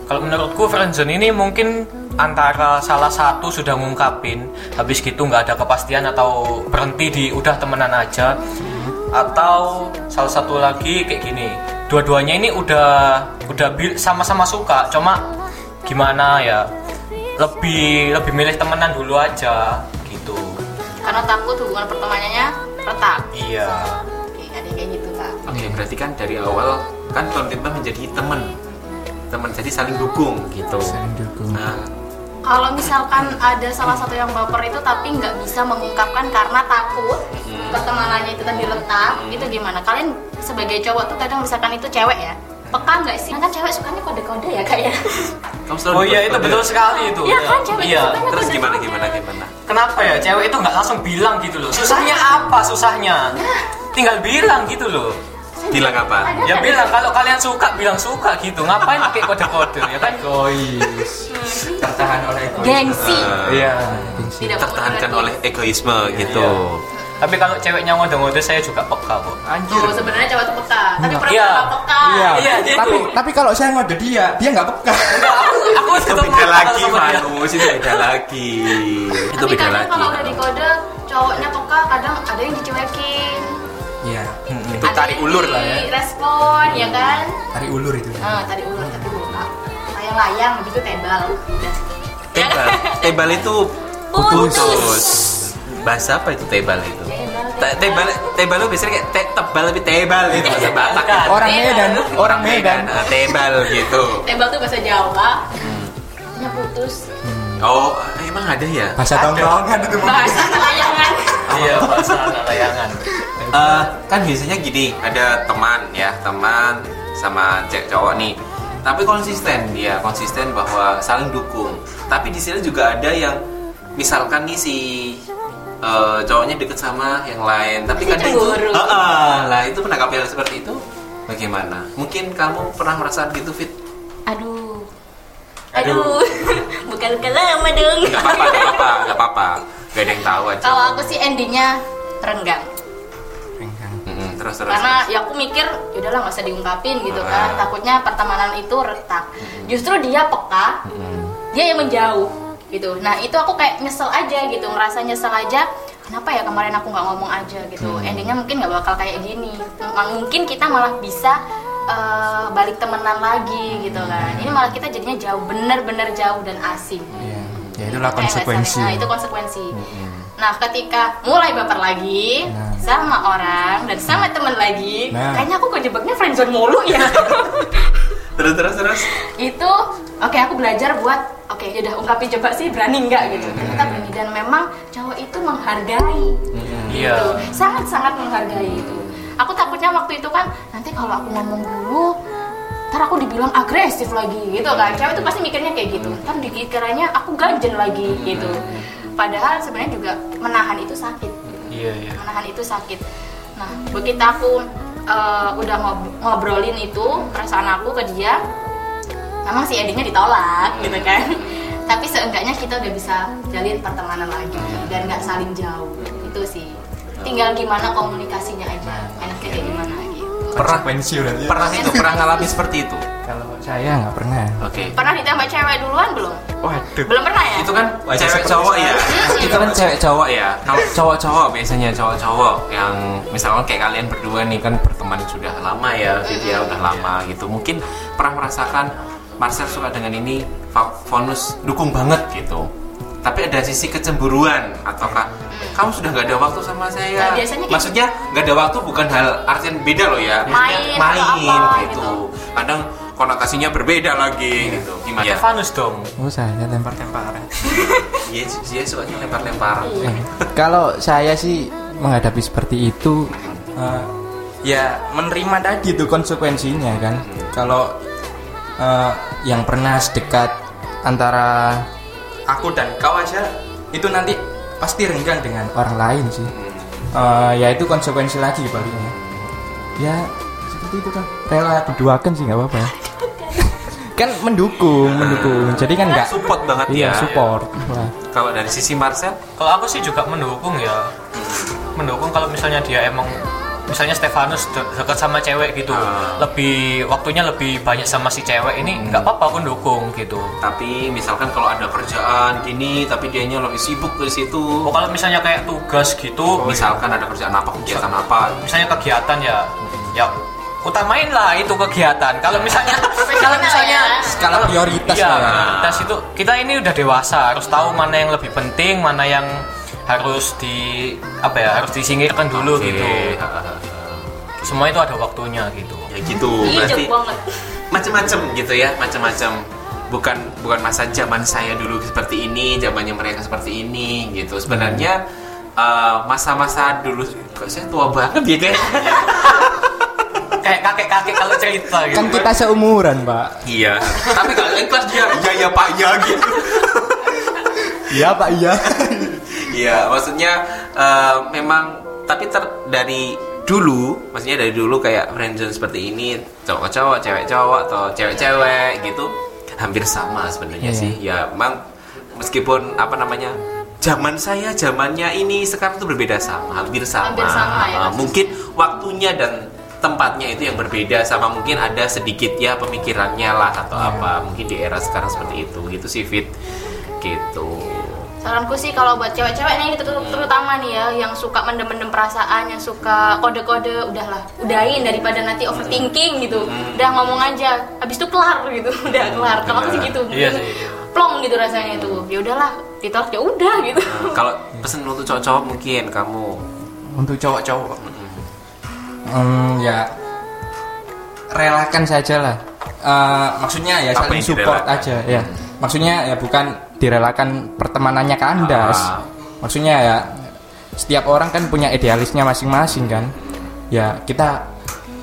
[SPEAKER 3] kalau menurutku friendzone ini mungkin antara salah satu sudah ngungkapin, habis gitu nggak ada kepastian atau berhenti di udah temenan aja, atau salah satu lagi kayak gini, dua-duanya ini udah udah bil- sama-sama suka, cuma gimana ya lebih lebih milih temenan dulu aja gitu.
[SPEAKER 5] karena takut hubungan pertemanannya retak
[SPEAKER 3] Iya.
[SPEAKER 5] oke ada yang kayak gitu kak
[SPEAKER 2] Oke, berarti kan dari awal kan komitmen menjadi teman. Teman jadi saling dukung gitu.
[SPEAKER 4] Saling dukung.
[SPEAKER 2] Nah,
[SPEAKER 5] kalau misalkan ada salah satu yang baper itu tapi nggak bisa mengungkapkan karena takut pertemanannya itu tadi retak itu gimana kalian sebagai cowok tuh kadang misalkan itu cewek ya peka nggak sih kan cewek sukanya kode-kode ya kak ya
[SPEAKER 2] kamu selalu
[SPEAKER 3] Oh iya itu
[SPEAKER 2] dukung.
[SPEAKER 3] betul sekali itu.
[SPEAKER 5] Iya kan, cewek
[SPEAKER 3] Iya.
[SPEAKER 5] itu
[SPEAKER 2] Terus gimana gimana gimana?
[SPEAKER 3] Kenapa ya cewek itu nggak langsung bilang gitu loh? Susahnya apa susahnya? Tinggal bilang gitu loh.
[SPEAKER 2] Bilang apa?
[SPEAKER 3] Ya bilang kalau kalian suka bilang suka gitu. Ngapain pakai kode-kode ya kan?
[SPEAKER 4] Egois. Tertahan oleh egois.
[SPEAKER 5] gengsi
[SPEAKER 2] Eh,
[SPEAKER 4] Iya.
[SPEAKER 5] tidak
[SPEAKER 2] tertahankan oleh
[SPEAKER 5] boleh.
[SPEAKER 2] egoisme
[SPEAKER 3] Iya,
[SPEAKER 2] gitu.
[SPEAKER 3] Tapi kalau ceweknya ngode-ngode saya juga peka kok.
[SPEAKER 4] Anjir.
[SPEAKER 5] Tuh sebenarnya cowok tuh peka, tapi
[SPEAKER 4] Enggak.
[SPEAKER 5] perempuan
[SPEAKER 3] Iya.
[SPEAKER 5] nggak peka.
[SPEAKER 4] Iya.
[SPEAKER 3] Iya, gitu.
[SPEAKER 4] Tapi tapi kalau saya ngode dia, dia nggak peka.
[SPEAKER 3] Enggak, aku aku
[SPEAKER 2] Itu
[SPEAKER 3] tetap
[SPEAKER 2] beda
[SPEAKER 3] peka
[SPEAKER 2] lagi,
[SPEAKER 3] sama dia.
[SPEAKER 2] Manus. Itu beda lagi. Itu
[SPEAKER 5] Tapi
[SPEAKER 2] beda
[SPEAKER 5] kadang
[SPEAKER 2] lagi.
[SPEAKER 5] kalau udah dikode, cowoknya peka, kadang ada yang dicuekin,
[SPEAKER 4] Iya. Hmm.
[SPEAKER 5] ada
[SPEAKER 4] tarik
[SPEAKER 5] yang
[SPEAKER 4] ulur lah ya.
[SPEAKER 5] Respon, ya kan?
[SPEAKER 4] Tarik ulur itu.
[SPEAKER 5] Nah, tadi ulur tapi buka. Layang-layang begitu tebal. Udah.
[SPEAKER 2] Tebal. Tebal itu
[SPEAKER 5] Putus.
[SPEAKER 2] putus. Bahasa apa itu tebal itu? Te- Tebal, tebal itu biasanya kayak te- tebal tapi tebal gitu bahasa Batak.
[SPEAKER 3] Bukan.
[SPEAKER 4] Orang Medan, orang Medan.
[SPEAKER 2] Medan, ah, tebal gitu.
[SPEAKER 5] Tebal tuh bahasa Jawa. Nya putus.
[SPEAKER 2] Oh, emang ada ya?
[SPEAKER 4] Bahasa tongkrongan itu mungkin.
[SPEAKER 5] Bahasa kan? layangan.
[SPEAKER 3] Iya, bahasa anak layangan.
[SPEAKER 2] Eh, kan biasanya gini, ada teman ya, teman sama cewek cowok nih. Tapi konsisten dia, konsisten bahwa saling dukung. Tapi di sini juga ada yang misalkan nih si eh, cowoknya deket sama yang lain, tapi
[SPEAKER 5] Si
[SPEAKER 2] kadang
[SPEAKER 5] cemburu.
[SPEAKER 2] Ah, ah, lah itu menangkap hal seperti itu bagaimana? Mungkin kamu pernah merasakan gitu fit?
[SPEAKER 5] Aduh. Aduh. <laughs> Bukan-bukan lama dong.
[SPEAKER 2] Gak apa-apa, gak apa-apa, gak apa-apa. Gak ada yang tahu aja.
[SPEAKER 5] Kalau aku sih endingnya renggang.
[SPEAKER 2] Mm-mm, terus terus.
[SPEAKER 5] karena ya aku mikir yaudahlah nggak usah diungkapin gitu
[SPEAKER 2] Ah.
[SPEAKER 5] kan takutnya pertemanan itu retak justru dia peka dia yang menjauh gitu nah itu aku kayak nyesel aja gitu ngerasa nyesel aja kenapa ya kemarin aku nggak ngomong aja gitu endingnya mungkin nggak bakal kayak gini M- mungkin kita malah bisa eh, balik temenan lagi gitu kan ini malah kita jadinya jauh bener-bener jauh dan asing Gitu.
[SPEAKER 4] Iya. Ya itulah
[SPEAKER 5] Kayak
[SPEAKER 4] konsekuensi.
[SPEAKER 5] Nah, itu konsekuensi. Nah, ketika mulai baper lagi
[SPEAKER 4] Nah.
[SPEAKER 5] sama orang dan sama teman lagi,
[SPEAKER 4] Nah.
[SPEAKER 5] kayaknya aku kejebaknya friendzone mulu ya.
[SPEAKER 4] <laughs>
[SPEAKER 2] Terus terus terus.
[SPEAKER 5] itu oke aku belajar buat oke yaudah ungkapin coba sih berani nggak gitu. Ternyata berani dan memang cowok itu menghargai.
[SPEAKER 3] Iya.
[SPEAKER 5] Gitu. Sangat-sangat menghargai itu. Aku takutnya waktu itu kan nanti kalau aku ngomong dulu ntar aku dibilang agresif lagi gitu kan cewek itu pasti mikirnya kayak gitu ntar dikiranya aku ganjen lagi gitu padahal sebenarnya juga menahan itu sakit
[SPEAKER 3] Iya, iya.
[SPEAKER 5] menahan itu sakit nah begitu aku eh, udah ngob- ngobrolin itu perasaan aku ke dia memang si endingnya ditolak gitu
[SPEAKER 2] Hmm.
[SPEAKER 5] kan <laughs> tapi seenggaknya kita udah bisa jalin pertemanan lagi dan nggak saling jauh itu sih tinggal gimana komunikasinya aja enaknya kayak gimana gitu
[SPEAKER 2] Pernah
[SPEAKER 4] Konsekuensi berarti.
[SPEAKER 2] pernah itu pernah ngalami seperti itu.
[SPEAKER 4] Kalau saya nggak pernah.
[SPEAKER 2] Oke.
[SPEAKER 5] pernah ditembak cewek duluan belum
[SPEAKER 4] Waduh.
[SPEAKER 5] belum pernah ya
[SPEAKER 2] Itu kan cewek cowok ya.
[SPEAKER 5] Hmm, iya,
[SPEAKER 2] Itu kan cewek cowok ya. Kalau cowok-cowok biasanya cowok-cowok yang misalnya kayak kalian berdua nih kan berteman sudah lama ya,
[SPEAKER 5] Hmm.
[SPEAKER 2] dia udah
[SPEAKER 5] Iya.
[SPEAKER 2] lama gitu. Mungkin pernah merasakan Marcel suka dengan ini, Fa- Fonus dukung banget gitu. Tapi ada sisi kecemburuan ataukah kamu sudah nggak ada waktu sama saya?
[SPEAKER 5] Nah, Hmm. biasanya kayak
[SPEAKER 2] Maksudnya nggak ada waktu bukan hal artian beda loh ya. Maksudnya
[SPEAKER 5] Main atau
[SPEAKER 2] main
[SPEAKER 5] apa
[SPEAKER 2] gitu.
[SPEAKER 5] gitu. Hmm.
[SPEAKER 2] Kadang konotasinya berbeda lagi gitu. Gimana?
[SPEAKER 5] Iya.
[SPEAKER 3] Ya. Vanus dong.
[SPEAKER 4] Oh saya lempar-lemparan.
[SPEAKER 2] Iya, dia sukanya lempar-lemparan.
[SPEAKER 5] Iya.
[SPEAKER 4] Eh, <laughs> kalau saya sih menghadapi seperti itu eh, ya menerima tadi itu konsekuensinya kan kalau eh, yang pernah sedekat antara aku dan kau aja itu nanti pasti renggang dengan orang lain sih Eh, ya itu konsekuensi lagi baliknya ya seperti itu kan rela keduakan sih nggak apa-apa ya. kan mendukung mendukung jadi kan nggak
[SPEAKER 2] Support banget
[SPEAKER 4] iya
[SPEAKER 2] ya.
[SPEAKER 4] support Wah.
[SPEAKER 2] Kalau dari sisi Marcel,
[SPEAKER 3] Kalau aku sih juga mendukung ya. Mendukung kalau misalnya dia emang misalnya Stefanus de- dekat sama cewek gitu.
[SPEAKER 2] Ah.
[SPEAKER 3] Lebih waktunya lebih banyak sama si cewek ini nggak apa-apa aku dukung gitu.
[SPEAKER 2] tapi misalkan kalau ada kerjaan gini, tapi dianya lebih sibuk ke situ.
[SPEAKER 3] Oh, kalau misalnya kayak tugas gitu, misal
[SPEAKER 2] misalkan ada kerjaan apa, kegiatan apa.
[SPEAKER 3] misalnya kegiatan ya ya utamain lah itu kegiatan. Kalau misalnya kalau misalnya
[SPEAKER 4] skala prioritas
[SPEAKER 3] Iya,
[SPEAKER 4] lah ya.
[SPEAKER 3] prioritas itu kita ini udah dewasa harus tahu mana yang lebih penting, mana yang harus di apa ya harus disingkirkan dulu
[SPEAKER 2] Oke.
[SPEAKER 3] gitu. Semua itu ada waktunya gitu.
[SPEAKER 2] <laughs> Ya gitu,
[SPEAKER 5] Ijek
[SPEAKER 2] berarti
[SPEAKER 5] banget
[SPEAKER 2] macam-macam gitu ya, macam-macam. Bukan bukan masa zaman saya dulu seperti ini, zamannya mereka seperti ini gitu. Sebenarnya eh, masa-masa dulu kok saya tua banget ya deh.
[SPEAKER 3] Kayak kakek-kakek kalau cerita gitu.
[SPEAKER 4] kan kita seumuran pak
[SPEAKER 2] Iya. <laughs> Tapi kalau ikhlas dia, iya ya Pak ya gitu.
[SPEAKER 4] iya pak iya
[SPEAKER 2] <laughs> Iya, maksudnya eh, memang tapi ter dari dulu, maksudnya dari dulu kayak friendzone seperti ini, cowok-cowok, cewek-cowok atau cewek-cewek gitu, hampir sama sebenarnya
[SPEAKER 4] Iya.
[SPEAKER 2] sih. Ya, memang meskipun apa namanya Zaman saya, zamannya ini sekarang tuh berbeda sama, hampir sama.
[SPEAKER 5] Hampir sama, ya,
[SPEAKER 2] Eh, mungkin waktunya dan tempatnya itu yang berbeda sama mungkin ada sedikit ya pemikirannya lah atau
[SPEAKER 4] Iya.
[SPEAKER 2] apa. Mungkin di era sekarang seperti itu. Gitu sih Fit. Gitu.
[SPEAKER 5] Saranku sih kalau buat cewek-cewek nih terut- terutama nih ya yang suka mendem-mendem perasaan, yang suka kode-kode udahlah, udahin daripada nanti overthinking gitu.
[SPEAKER 3] Hmm.
[SPEAKER 5] Udah ngomong aja, habis itu kelar gitu, <laughs> udah kelar. Kalau aku sih gitu,
[SPEAKER 3] Iya
[SPEAKER 5] mungkin
[SPEAKER 3] sih, iya.
[SPEAKER 5] plong gitu rasanya itu. Ya udahlah, ditolak ya udah gitu.
[SPEAKER 3] <laughs>
[SPEAKER 2] Nah, kalau pesen untuk cowok-cowok mungkin kamu
[SPEAKER 4] untuk cowok-cowok Hmm, ya relakan saja lah Eh, maksudnya ya
[SPEAKER 2] Apa
[SPEAKER 4] saling
[SPEAKER 2] yang
[SPEAKER 4] support
[SPEAKER 2] direlakan?
[SPEAKER 4] aja ya maksudnya ya bukan direlakan pertemanannya kandas
[SPEAKER 2] Ah.
[SPEAKER 4] maksudnya ya setiap orang kan punya idealisnya masing-masing kan ya kita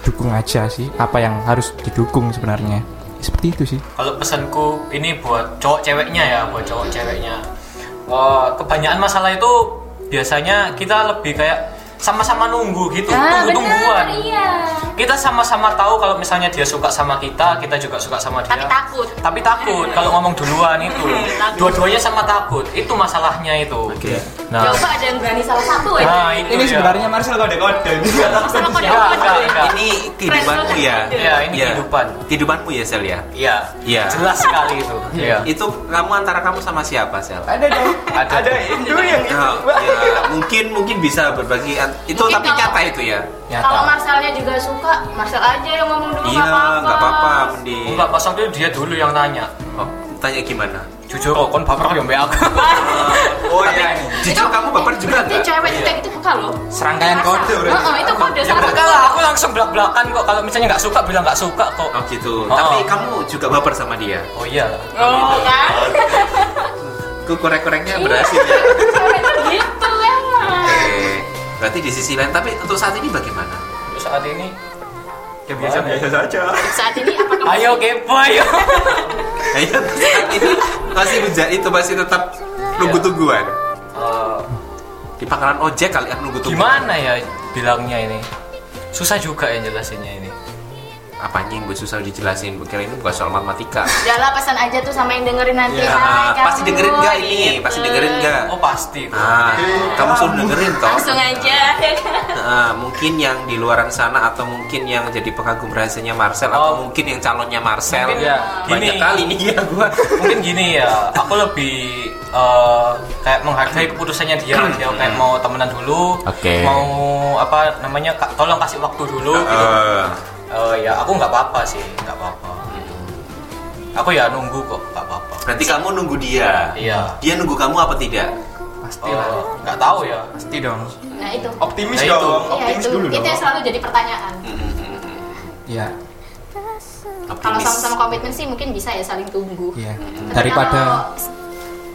[SPEAKER 4] dukung aja sih apa yang harus didukung sebenarnya seperti itu sih
[SPEAKER 3] Kalau pesanku ini buat cowok ceweknya ya, buat cowok ceweknya. Wah, kebanyakan masalah itu biasanya kita lebih kayak sama-sama nunggu gitu,
[SPEAKER 5] Ah,
[SPEAKER 3] tunggu-tungguan.
[SPEAKER 5] iya.
[SPEAKER 3] Kita sama-sama tahu kalau misalnya dia suka sama kita, kita juga suka sama dia.
[SPEAKER 5] Tapi takut.
[SPEAKER 3] Tapi
[SPEAKER 5] <laughs>
[SPEAKER 3] takut kalau ngomong duluan itu. Dua-duanya sama takut. Itu masalahnya itu.
[SPEAKER 5] Iya.
[SPEAKER 3] Nah,
[SPEAKER 5] Coba ada yang berani salah satu aja.
[SPEAKER 3] nah itu
[SPEAKER 4] ini
[SPEAKER 3] ya.
[SPEAKER 4] sebenarnya Marcel kode-kode
[SPEAKER 5] Masalah
[SPEAKER 3] Enggak, enggak,
[SPEAKER 5] kode-kode.
[SPEAKER 3] enggak.
[SPEAKER 2] ini kehidupanmu ya
[SPEAKER 3] Iya, ini kehidupan.
[SPEAKER 2] kehidupanmu ya Sel ya
[SPEAKER 3] Iya.
[SPEAKER 2] Iya.
[SPEAKER 3] Jelas sekali itu. Iya.
[SPEAKER 2] itu kamu antara kamu sama siapa Sel
[SPEAKER 4] ada dong
[SPEAKER 3] Ada.
[SPEAKER 4] Indo yang
[SPEAKER 2] Nah, ya, mungkin mungkin bisa berbagi an- itu
[SPEAKER 5] Mungkin
[SPEAKER 2] tapi
[SPEAKER 5] kalau-
[SPEAKER 2] nyata itu ya
[SPEAKER 3] Nyata.
[SPEAKER 5] Kalau Marcelnya juga suka, Marcel aja yang ngomong dulu
[SPEAKER 2] iya nggak apa-apa mending
[SPEAKER 3] Enggak, pas waktu itu dia dulu yang nanya.
[SPEAKER 2] Oh, tanya
[SPEAKER 5] <laughs>
[SPEAKER 2] gimana
[SPEAKER 3] Jujur kok, kon baper ya mbak aku.
[SPEAKER 2] oh iya jujur kamu baper juga nggak Iya.
[SPEAKER 5] Berarti
[SPEAKER 3] Iya.
[SPEAKER 5] cewek itu itu peka loh.
[SPEAKER 4] serangkaian
[SPEAKER 5] Rasa.
[SPEAKER 4] kode berarti.
[SPEAKER 5] Heeh, itu kode
[SPEAKER 3] ya
[SPEAKER 5] salah
[SPEAKER 2] Oh,
[SPEAKER 3] enggak lah, aku langsung belak-belakan kok. Kalau misalnya nggak suka, bilang nggak suka kok.
[SPEAKER 2] oh gitu
[SPEAKER 3] Oh.
[SPEAKER 2] tapi kamu juga baper sama dia
[SPEAKER 3] Oh iya lah.
[SPEAKER 5] Oh, kan?
[SPEAKER 2] ke korek-koreknya
[SPEAKER 5] Iya.
[SPEAKER 2] berhasil ya
[SPEAKER 5] Cewek itu gitu emang.
[SPEAKER 2] oke berarti di sisi lain tapi untuk saat ini bagaimana
[SPEAKER 3] Terus saat ini, ya biasa-biasa.
[SPEAKER 2] saja
[SPEAKER 5] Saat ini apa kamu
[SPEAKER 3] Ayo kepo, ayo.
[SPEAKER 2] <laughs> Iya, saat ini masih menjadi itu masih tetap nunggu tungguan
[SPEAKER 3] Eh,
[SPEAKER 2] di pangkalan ojek kali kan nunggu tungguan
[SPEAKER 3] gimana ya bilangnya ini? Susah juga yang jelasinnya ini.
[SPEAKER 2] apanya yang gue susah dijelasin gue kira ini bukan soal
[SPEAKER 3] <laughs>
[SPEAKER 2] matematika
[SPEAKER 5] Udah lah pesan aja tuh sama yang dengerin nanti.
[SPEAKER 2] Ya,
[SPEAKER 3] Iya.
[SPEAKER 5] Hai, kamu,
[SPEAKER 2] pasti dengerin gak ini?
[SPEAKER 5] gitu.
[SPEAKER 2] Pasti dengerin gak?
[SPEAKER 3] Oh pasti. tuh.
[SPEAKER 2] Nah, kamu suruh dengerin toh.
[SPEAKER 5] Langsung aja. ya kan?
[SPEAKER 2] Nah, mungkin yang di luaran sana atau mungkin yang jadi pengagum rahasianya Marcel atau
[SPEAKER 3] Oh.
[SPEAKER 2] mungkin yang calonnya Marcel.
[SPEAKER 3] Mungkin ya.
[SPEAKER 2] Banyak
[SPEAKER 3] Gini.
[SPEAKER 2] kali nih ya
[SPEAKER 3] <laughs>
[SPEAKER 2] gua.
[SPEAKER 3] mungkin gini ya aku lebih eh, kayak menghargai keputusannya dia dia kayak mau temenan dulu
[SPEAKER 2] Oke.
[SPEAKER 3] mau apa namanya ka- tolong kasih waktu dulu gitu
[SPEAKER 2] Eh,
[SPEAKER 3] Eh, ya aku nggak apa-apa sih nggak apa-apa gitu. aku ya nunggu kok nggak apa-apa
[SPEAKER 2] berarti kamu nunggu dia.
[SPEAKER 3] iya
[SPEAKER 2] Dia nunggu kamu apa tidak?
[SPEAKER 4] Pasti lah.
[SPEAKER 3] Eh, nggak tahu ya
[SPEAKER 4] Pasti dong.
[SPEAKER 5] Nah, itu.
[SPEAKER 3] Nah,
[SPEAKER 4] Optimis
[SPEAKER 3] itu.
[SPEAKER 4] dong.
[SPEAKER 5] Iya,
[SPEAKER 4] Optimis
[SPEAKER 5] itu.
[SPEAKER 4] dulu
[SPEAKER 5] Itu
[SPEAKER 4] dong.
[SPEAKER 5] yang selalu jadi pertanyaan.
[SPEAKER 4] Iya.
[SPEAKER 5] Kalau
[SPEAKER 2] Hmm, Optimis.
[SPEAKER 5] sama-sama komitmen sih mungkin bisa ya saling tunggu.
[SPEAKER 4] Iya.
[SPEAKER 5] Tapi
[SPEAKER 4] Daripada
[SPEAKER 5] kalau s-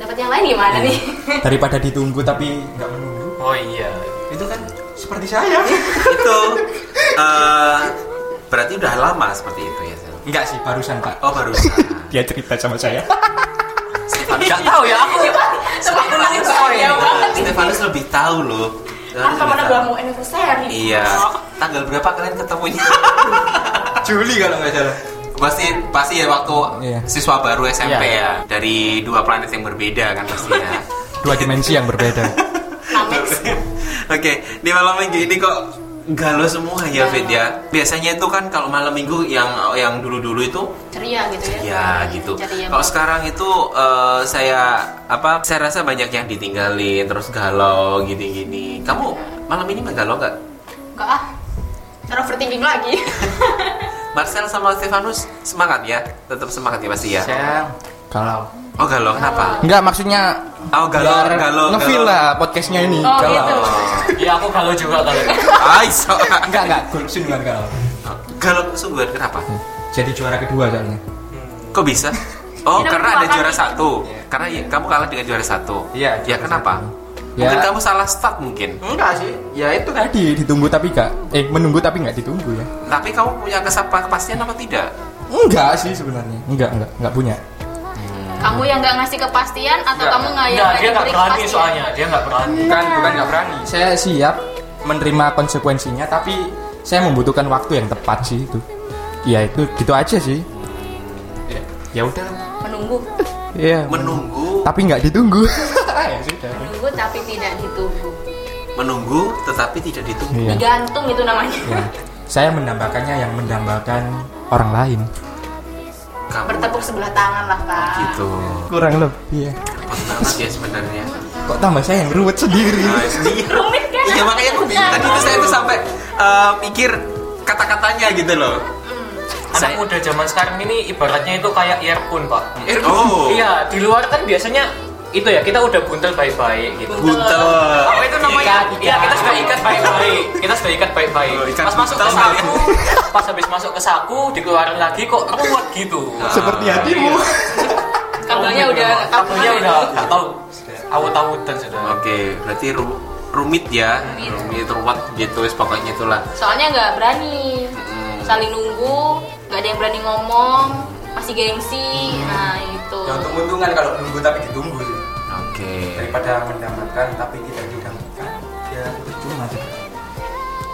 [SPEAKER 5] dapat yang lain gimana
[SPEAKER 2] Iya.
[SPEAKER 5] nih?
[SPEAKER 4] daripada ditunggu tapi nggak menunggu.
[SPEAKER 3] oh iya
[SPEAKER 4] Itu kan seperti saya.
[SPEAKER 5] gitu.
[SPEAKER 2] itu <laughs> eh, berarti udah lama seperti itu ya. Sel?
[SPEAKER 4] Enggak sih, barusan Pak.
[SPEAKER 2] Oh
[SPEAKER 5] <laughs>
[SPEAKER 2] baru. Stefan
[SPEAKER 4] Dia cerita sama saya.
[SPEAKER 3] nggak tahu ya aku
[SPEAKER 5] Sempat nangis bahagia Oh, iya, banget.
[SPEAKER 2] Eh, Stefanus lebih tahu loh.
[SPEAKER 5] Kan
[SPEAKER 2] Stefanus
[SPEAKER 5] kemana
[SPEAKER 2] lebih
[SPEAKER 5] gua
[SPEAKER 2] tahu.
[SPEAKER 5] mau anniversary?
[SPEAKER 2] Iya.
[SPEAKER 5] Oh.
[SPEAKER 2] Tanggal berapa kalian ketemunya? <laughs>
[SPEAKER 4] Juli kalau nggak salah.
[SPEAKER 2] pasti pasti ya waktu
[SPEAKER 4] Iya.
[SPEAKER 2] siswa baru SMP
[SPEAKER 3] Iya.
[SPEAKER 2] ya dari dua planet yang berbeda kan pastinya.
[SPEAKER 4] <laughs> Dua dimensi yang berbeda.
[SPEAKER 2] <laughs> Oke, di malam minggu ini kok galau semua ya Fit ya. Biasanya itu kan kalau malam minggu yang yang dulu-dulu itu
[SPEAKER 5] Ceria gitu ya.
[SPEAKER 2] ya gitu.
[SPEAKER 5] Ceria.
[SPEAKER 2] Kalau sekarang itu eh, saya apa saya rasa banyak yang ditinggalin terus galau gini-gini. Kamu malam ini nggak galau nggak?
[SPEAKER 5] Enggak ah. Terus overthinking
[SPEAKER 2] <laughs>
[SPEAKER 5] lagi.
[SPEAKER 2] Marcel sama Stefanus semangat ya, tetap semangat ya pasti ya.
[SPEAKER 4] Saya kalau
[SPEAKER 2] Oh galau kenapa?
[SPEAKER 4] Enggak maksudnya
[SPEAKER 2] Oh galau,
[SPEAKER 4] biar
[SPEAKER 2] galau,
[SPEAKER 4] nge-feel
[SPEAKER 2] galau.
[SPEAKER 4] lah podcastnya ini.
[SPEAKER 5] Oh,
[SPEAKER 4] galau.
[SPEAKER 5] gitu.
[SPEAKER 3] iya aku kalau juga
[SPEAKER 4] <laughs>
[SPEAKER 3] kalau
[SPEAKER 2] Ay, so-
[SPEAKER 4] Enggak enggak, golpsin bukan galau.
[SPEAKER 2] Galau kesungguhan kenapa?
[SPEAKER 4] Jadi juara kedua soalnya.
[SPEAKER 2] Kok bisa? Oh,
[SPEAKER 5] Kita
[SPEAKER 2] karena ada
[SPEAKER 5] mengalahkan
[SPEAKER 2] juara
[SPEAKER 5] itu.
[SPEAKER 2] satu. Karena ya- kamu kalah dengan juara satu.
[SPEAKER 4] Iya,
[SPEAKER 2] Ya
[SPEAKER 4] juara
[SPEAKER 2] kenapa?
[SPEAKER 4] satu.
[SPEAKER 2] Mungkin
[SPEAKER 4] Ya.
[SPEAKER 2] kamu salah start mungkin.
[SPEAKER 4] Enggak sih. Ya itu tadi ditunggu tapi enggak eh menunggu tapi enggak ditunggu ya.
[SPEAKER 2] Tapi kamu punya kesapa kepastian apa tidak?
[SPEAKER 4] Enggak sih sebenarnya. Enggak, enggak, enggak punya.
[SPEAKER 5] Kamu yang nggak ngasih kepastian atau
[SPEAKER 4] Enggak.
[SPEAKER 5] kamu nggak yang nggak
[SPEAKER 3] Nggak, dia nggak
[SPEAKER 5] diberi
[SPEAKER 3] berani
[SPEAKER 4] ya.
[SPEAKER 5] kepastian?
[SPEAKER 3] soalnya dia nggak berani
[SPEAKER 4] Bukan, bukan enggak berani. Saya siap menerima konsekuensinya tapi saya membutuhkan waktu yang tepat sih itu. Ya itu gitu aja sih. Ya, Ya udah.
[SPEAKER 5] Menunggu,
[SPEAKER 4] Iya.
[SPEAKER 2] Menunggu,
[SPEAKER 4] Tapi enggak ditunggu. <laughs> ya sudah.
[SPEAKER 5] menunggu tapi tidak ditunggu.
[SPEAKER 2] menunggu, tetapi tidak ditunggu.
[SPEAKER 4] Iya.
[SPEAKER 5] Digantung itu namanya.
[SPEAKER 4] Ya. Saya mendambakannya yang mendambakan orang lain.
[SPEAKER 2] Kamu
[SPEAKER 5] Bertepuk sebelah tangan lah kak.
[SPEAKER 2] gitu.
[SPEAKER 4] Kurang lebih. Iya.
[SPEAKER 2] Repot banget ya sebenarnya.
[SPEAKER 4] Kok tambah saya yang ruwet sendiri.
[SPEAKER 2] Nah, sedih.
[SPEAKER 5] <laughs> Rumit kan?
[SPEAKER 2] Iya makanya aku bilang tadi itu saya tuh sampai eh, mikir kata-katanya gitu loh.
[SPEAKER 3] anak
[SPEAKER 2] Saya-
[SPEAKER 3] muda zaman sekarang ini ibaratnya itu kayak earphone pak
[SPEAKER 2] Oh,
[SPEAKER 3] Iya, di luar kan biasanya itu ya kita udah buntel baik-baik gitu.
[SPEAKER 2] buntel.
[SPEAKER 3] Apa itu namanya?
[SPEAKER 4] Ikat, ikat.
[SPEAKER 3] Iya, kita sudah ikat baik-baik. Kita sudah ikat baik-baik.
[SPEAKER 2] Oh, ikat
[SPEAKER 3] Pas masuk ke
[SPEAKER 2] buntel kali
[SPEAKER 3] saku, pas habis masuk ke saku dikeluarin lagi kok ruwet gitu.
[SPEAKER 2] Ah.
[SPEAKER 4] Seperti hatimu.
[SPEAKER 5] Kabelnya udah
[SPEAKER 3] kabelnya udah nggak tahu. Awut-awutan sudah.
[SPEAKER 2] Oke, berarti ru- rumit ya, rumit, ruwet gitu, wes pokoknya itulah.
[SPEAKER 5] Soalnya nggak berani. Saling nunggu, nggak ada yang berani ngomong, masih gengsi. Nah itu.
[SPEAKER 4] Ya untuk untungan kalau nunggu tapi ditunggu sih.
[SPEAKER 2] Oke,
[SPEAKER 4] Daripada mendambakan tapi tidak didambakan. Ya percuma sih.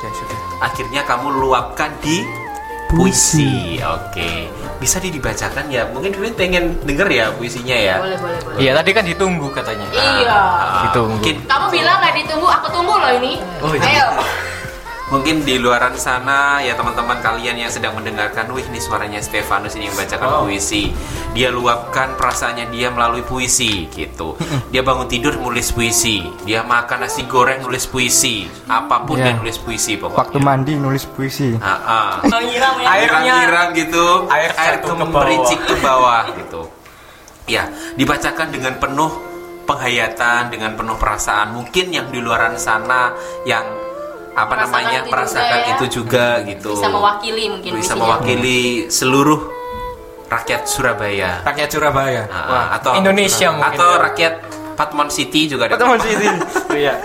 [SPEAKER 4] Ya sudah.
[SPEAKER 2] akhirnya kamu luapkan di puisi. Oke, bisa di- dibacakan ya? Mungkin Dwi pengen denger ya puisinya ya.
[SPEAKER 5] Boleh boleh boleh.
[SPEAKER 3] Iya, tadi kan ditunggu katanya.
[SPEAKER 5] Iya.
[SPEAKER 2] Ah,
[SPEAKER 3] Gitu,
[SPEAKER 2] mungkin.
[SPEAKER 5] Kamu bilang nggak ditunggu, aku tunggu loh ini.
[SPEAKER 3] Oh, iya.
[SPEAKER 5] Ayo.
[SPEAKER 2] Mungkin di luaran sana ya teman-teman kalian yang sedang mendengarkan, wih ini suaranya Stefanus ini yang membacakan puisi. Dia luapkan perasaannya dia melalui puisi gitu. Dia bangun tidur nulis puisi, dia makan nasi goreng nulis puisi, apapun dia
[SPEAKER 4] Iya.
[SPEAKER 2] nulis puisi pokoknya.
[SPEAKER 4] Waktu mandi nulis puisi.
[SPEAKER 2] Ah, ah.
[SPEAKER 3] Nyiram ya. Airnya.
[SPEAKER 2] Nyiram-nyiram gitu,
[SPEAKER 3] air
[SPEAKER 2] air
[SPEAKER 3] jatuh ke
[SPEAKER 2] kemericik ke bawah gitu. Ya, dibacakan dengan penuh penghayatan, dengan penuh perasaan. Mungkin yang di luaran sana yang apa
[SPEAKER 5] Merasakan
[SPEAKER 2] namanya
[SPEAKER 5] itu
[SPEAKER 2] merasakan
[SPEAKER 5] juga ya.
[SPEAKER 2] itu juga gitu.
[SPEAKER 5] bisa mewakili mungkin ya.
[SPEAKER 2] Bisa
[SPEAKER 5] puisinya.
[SPEAKER 2] mewakili seluruh rakyat Surabaya.
[SPEAKER 4] Rakyat Surabaya.
[SPEAKER 2] Ah, ah. atau
[SPEAKER 3] Indonesia mungkin
[SPEAKER 2] atau
[SPEAKER 3] ya.
[SPEAKER 2] rakyat Patmon City juga ada. <laughs>
[SPEAKER 3] Iya.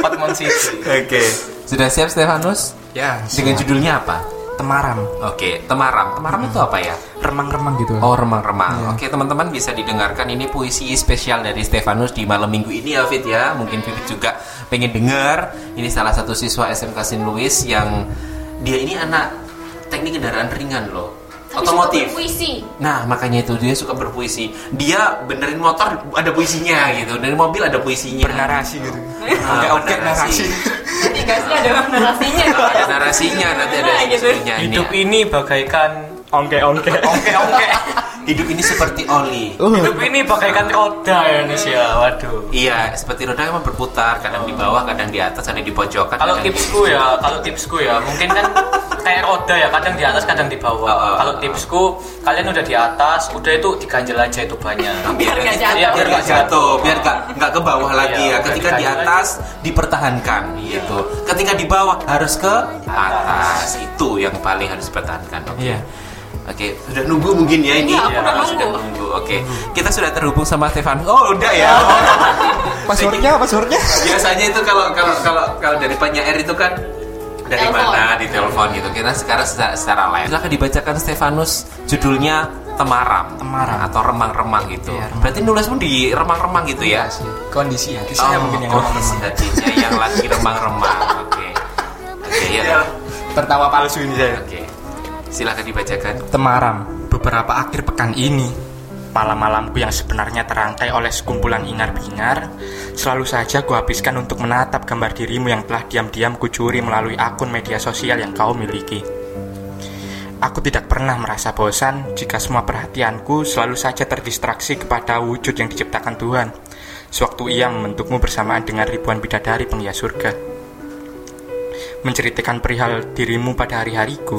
[SPEAKER 3] Patmon City.
[SPEAKER 2] Oke. Sudah siap Stefanus?
[SPEAKER 4] Ya,
[SPEAKER 2] Dengan judulnya apa?
[SPEAKER 4] temaram,
[SPEAKER 2] Oke, Temaram. Temaram itu apa ya?
[SPEAKER 4] remang-remang gitu.
[SPEAKER 2] Oh remang-remang.
[SPEAKER 4] Iya.
[SPEAKER 2] Oke teman-teman bisa didengarkan ini puisi spesial dari Stefanus di malam minggu ini ya Fit ya. Mungkin Fit juga pengen dengar. Ini salah satu siswa SMK Sin Louis yang dia ini anak teknik kendaraan ringan loh.
[SPEAKER 5] Tapi
[SPEAKER 2] Otomotif.
[SPEAKER 5] suka berpuisi.
[SPEAKER 2] Nah makanya itu dia suka berpuisi. Dia benerin motor ada puisinya gitu. Dari mobil ada puisinya.
[SPEAKER 4] Bernarasi gitu.
[SPEAKER 2] Ah,
[SPEAKER 4] Oke-oke
[SPEAKER 2] bernarasi.
[SPEAKER 4] narasi.
[SPEAKER 5] Jadi gasnya ada narasinya kalau ada-
[SPEAKER 2] Narasinya nanti ada
[SPEAKER 5] Nah, gitu.
[SPEAKER 4] Iya,
[SPEAKER 2] puisinya. ini
[SPEAKER 3] Hidup
[SPEAKER 2] ya.
[SPEAKER 3] ini bagaikan ongke-ongke. Ongke-ongke.
[SPEAKER 2] Hidup ini seperti oli.
[SPEAKER 4] Oh.
[SPEAKER 3] Hidup
[SPEAKER 4] eh.
[SPEAKER 3] ini bagaikan roda ya Indonesia. Waduh.
[SPEAKER 2] Iya, seperti roda emang berputar, kadang di bawah, kadang di atas, ada di pojokan.
[SPEAKER 3] Kalau
[SPEAKER 4] Iya.
[SPEAKER 2] kadang di-
[SPEAKER 3] tipsku ya, kalau tipsku ya, mungkin kan kayak roda ya, kadang di atas, kadang di bawah.
[SPEAKER 2] Ah, ah,
[SPEAKER 3] Kalau
[SPEAKER 2] ah.
[SPEAKER 3] tipsku, kalian udah di atas, udah itu diganjel aja itu banyak.
[SPEAKER 2] biar
[SPEAKER 5] nggak
[SPEAKER 2] nanti-
[SPEAKER 3] jatuh.
[SPEAKER 2] Iya, biar nggak jatuh, biar nggak nggak ke bawah lagi
[SPEAKER 3] Iya,
[SPEAKER 2] ya. Ketika di
[SPEAKER 3] udah dikaji
[SPEAKER 2] atas dipertahankan gitu. Ketika di bawah harus ke atas. Itu yang paling harus dipertahankan. Oke.
[SPEAKER 4] Iya.
[SPEAKER 2] Oke, sudah nunggu mungkin ya ini.
[SPEAKER 5] Iya, aku udah
[SPEAKER 2] Oh, sudah
[SPEAKER 5] nunggu.
[SPEAKER 2] nunggu. Oke. Kita sudah terhubung sama Stefan. Oh, udah
[SPEAKER 5] <laughs>
[SPEAKER 2] ya.
[SPEAKER 4] Passwordnya, passwordnya.
[SPEAKER 2] biasanya itu kalau kalau kalau kalau dari Panya R itu kan dari
[SPEAKER 5] Telepon.
[SPEAKER 2] mana di telepon gitu kita sekarang secara, secara live silahkan dibacakan Stefanus judulnya temaram
[SPEAKER 4] Temaram.
[SPEAKER 2] atau remang-remang gitu
[SPEAKER 4] Iya, remang.
[SPEAKER 2] berarti nulis pun di remang-remang gitu ya
[SPEAKER 4] Kondisi hati saya
[SPEAKER 2] Oh,
[SPEAKER 4] mungkin yang
[SPEAKER 2] oh,
[SPEAKER 4] remang-remang.
[SPEAKER 2] hatinya yang lagi
[SPEAKER 4] <laughs>
[SPEAKER 2] remang-remang oke oke ya
[SPEAKER 4] Iya. Tertawa palsu ini saya.
[SPEAKER 2] oke silahkan dibacakan
[SPEAKER 4] Temaram. Beberapa akhir pekan ini, malam-malamku yang sebenarnya terangkai oleh sekumpulan ingar-bingar, selalu saja kuhabiskan untuk menatap gambar dirimu yang telah diam-diam kucuri melalui akun media sosial yang kau miliki. Aku tidak pernah merasa bosan jika semua perhatianku selalu saja terdistraksi kepada wujud yang diciptakan Tuhan. Sewaktu ia membentukmu bersamaan dengan ribuan bidadari penghias surga menceritakan perihal dirimu pada hari-hariku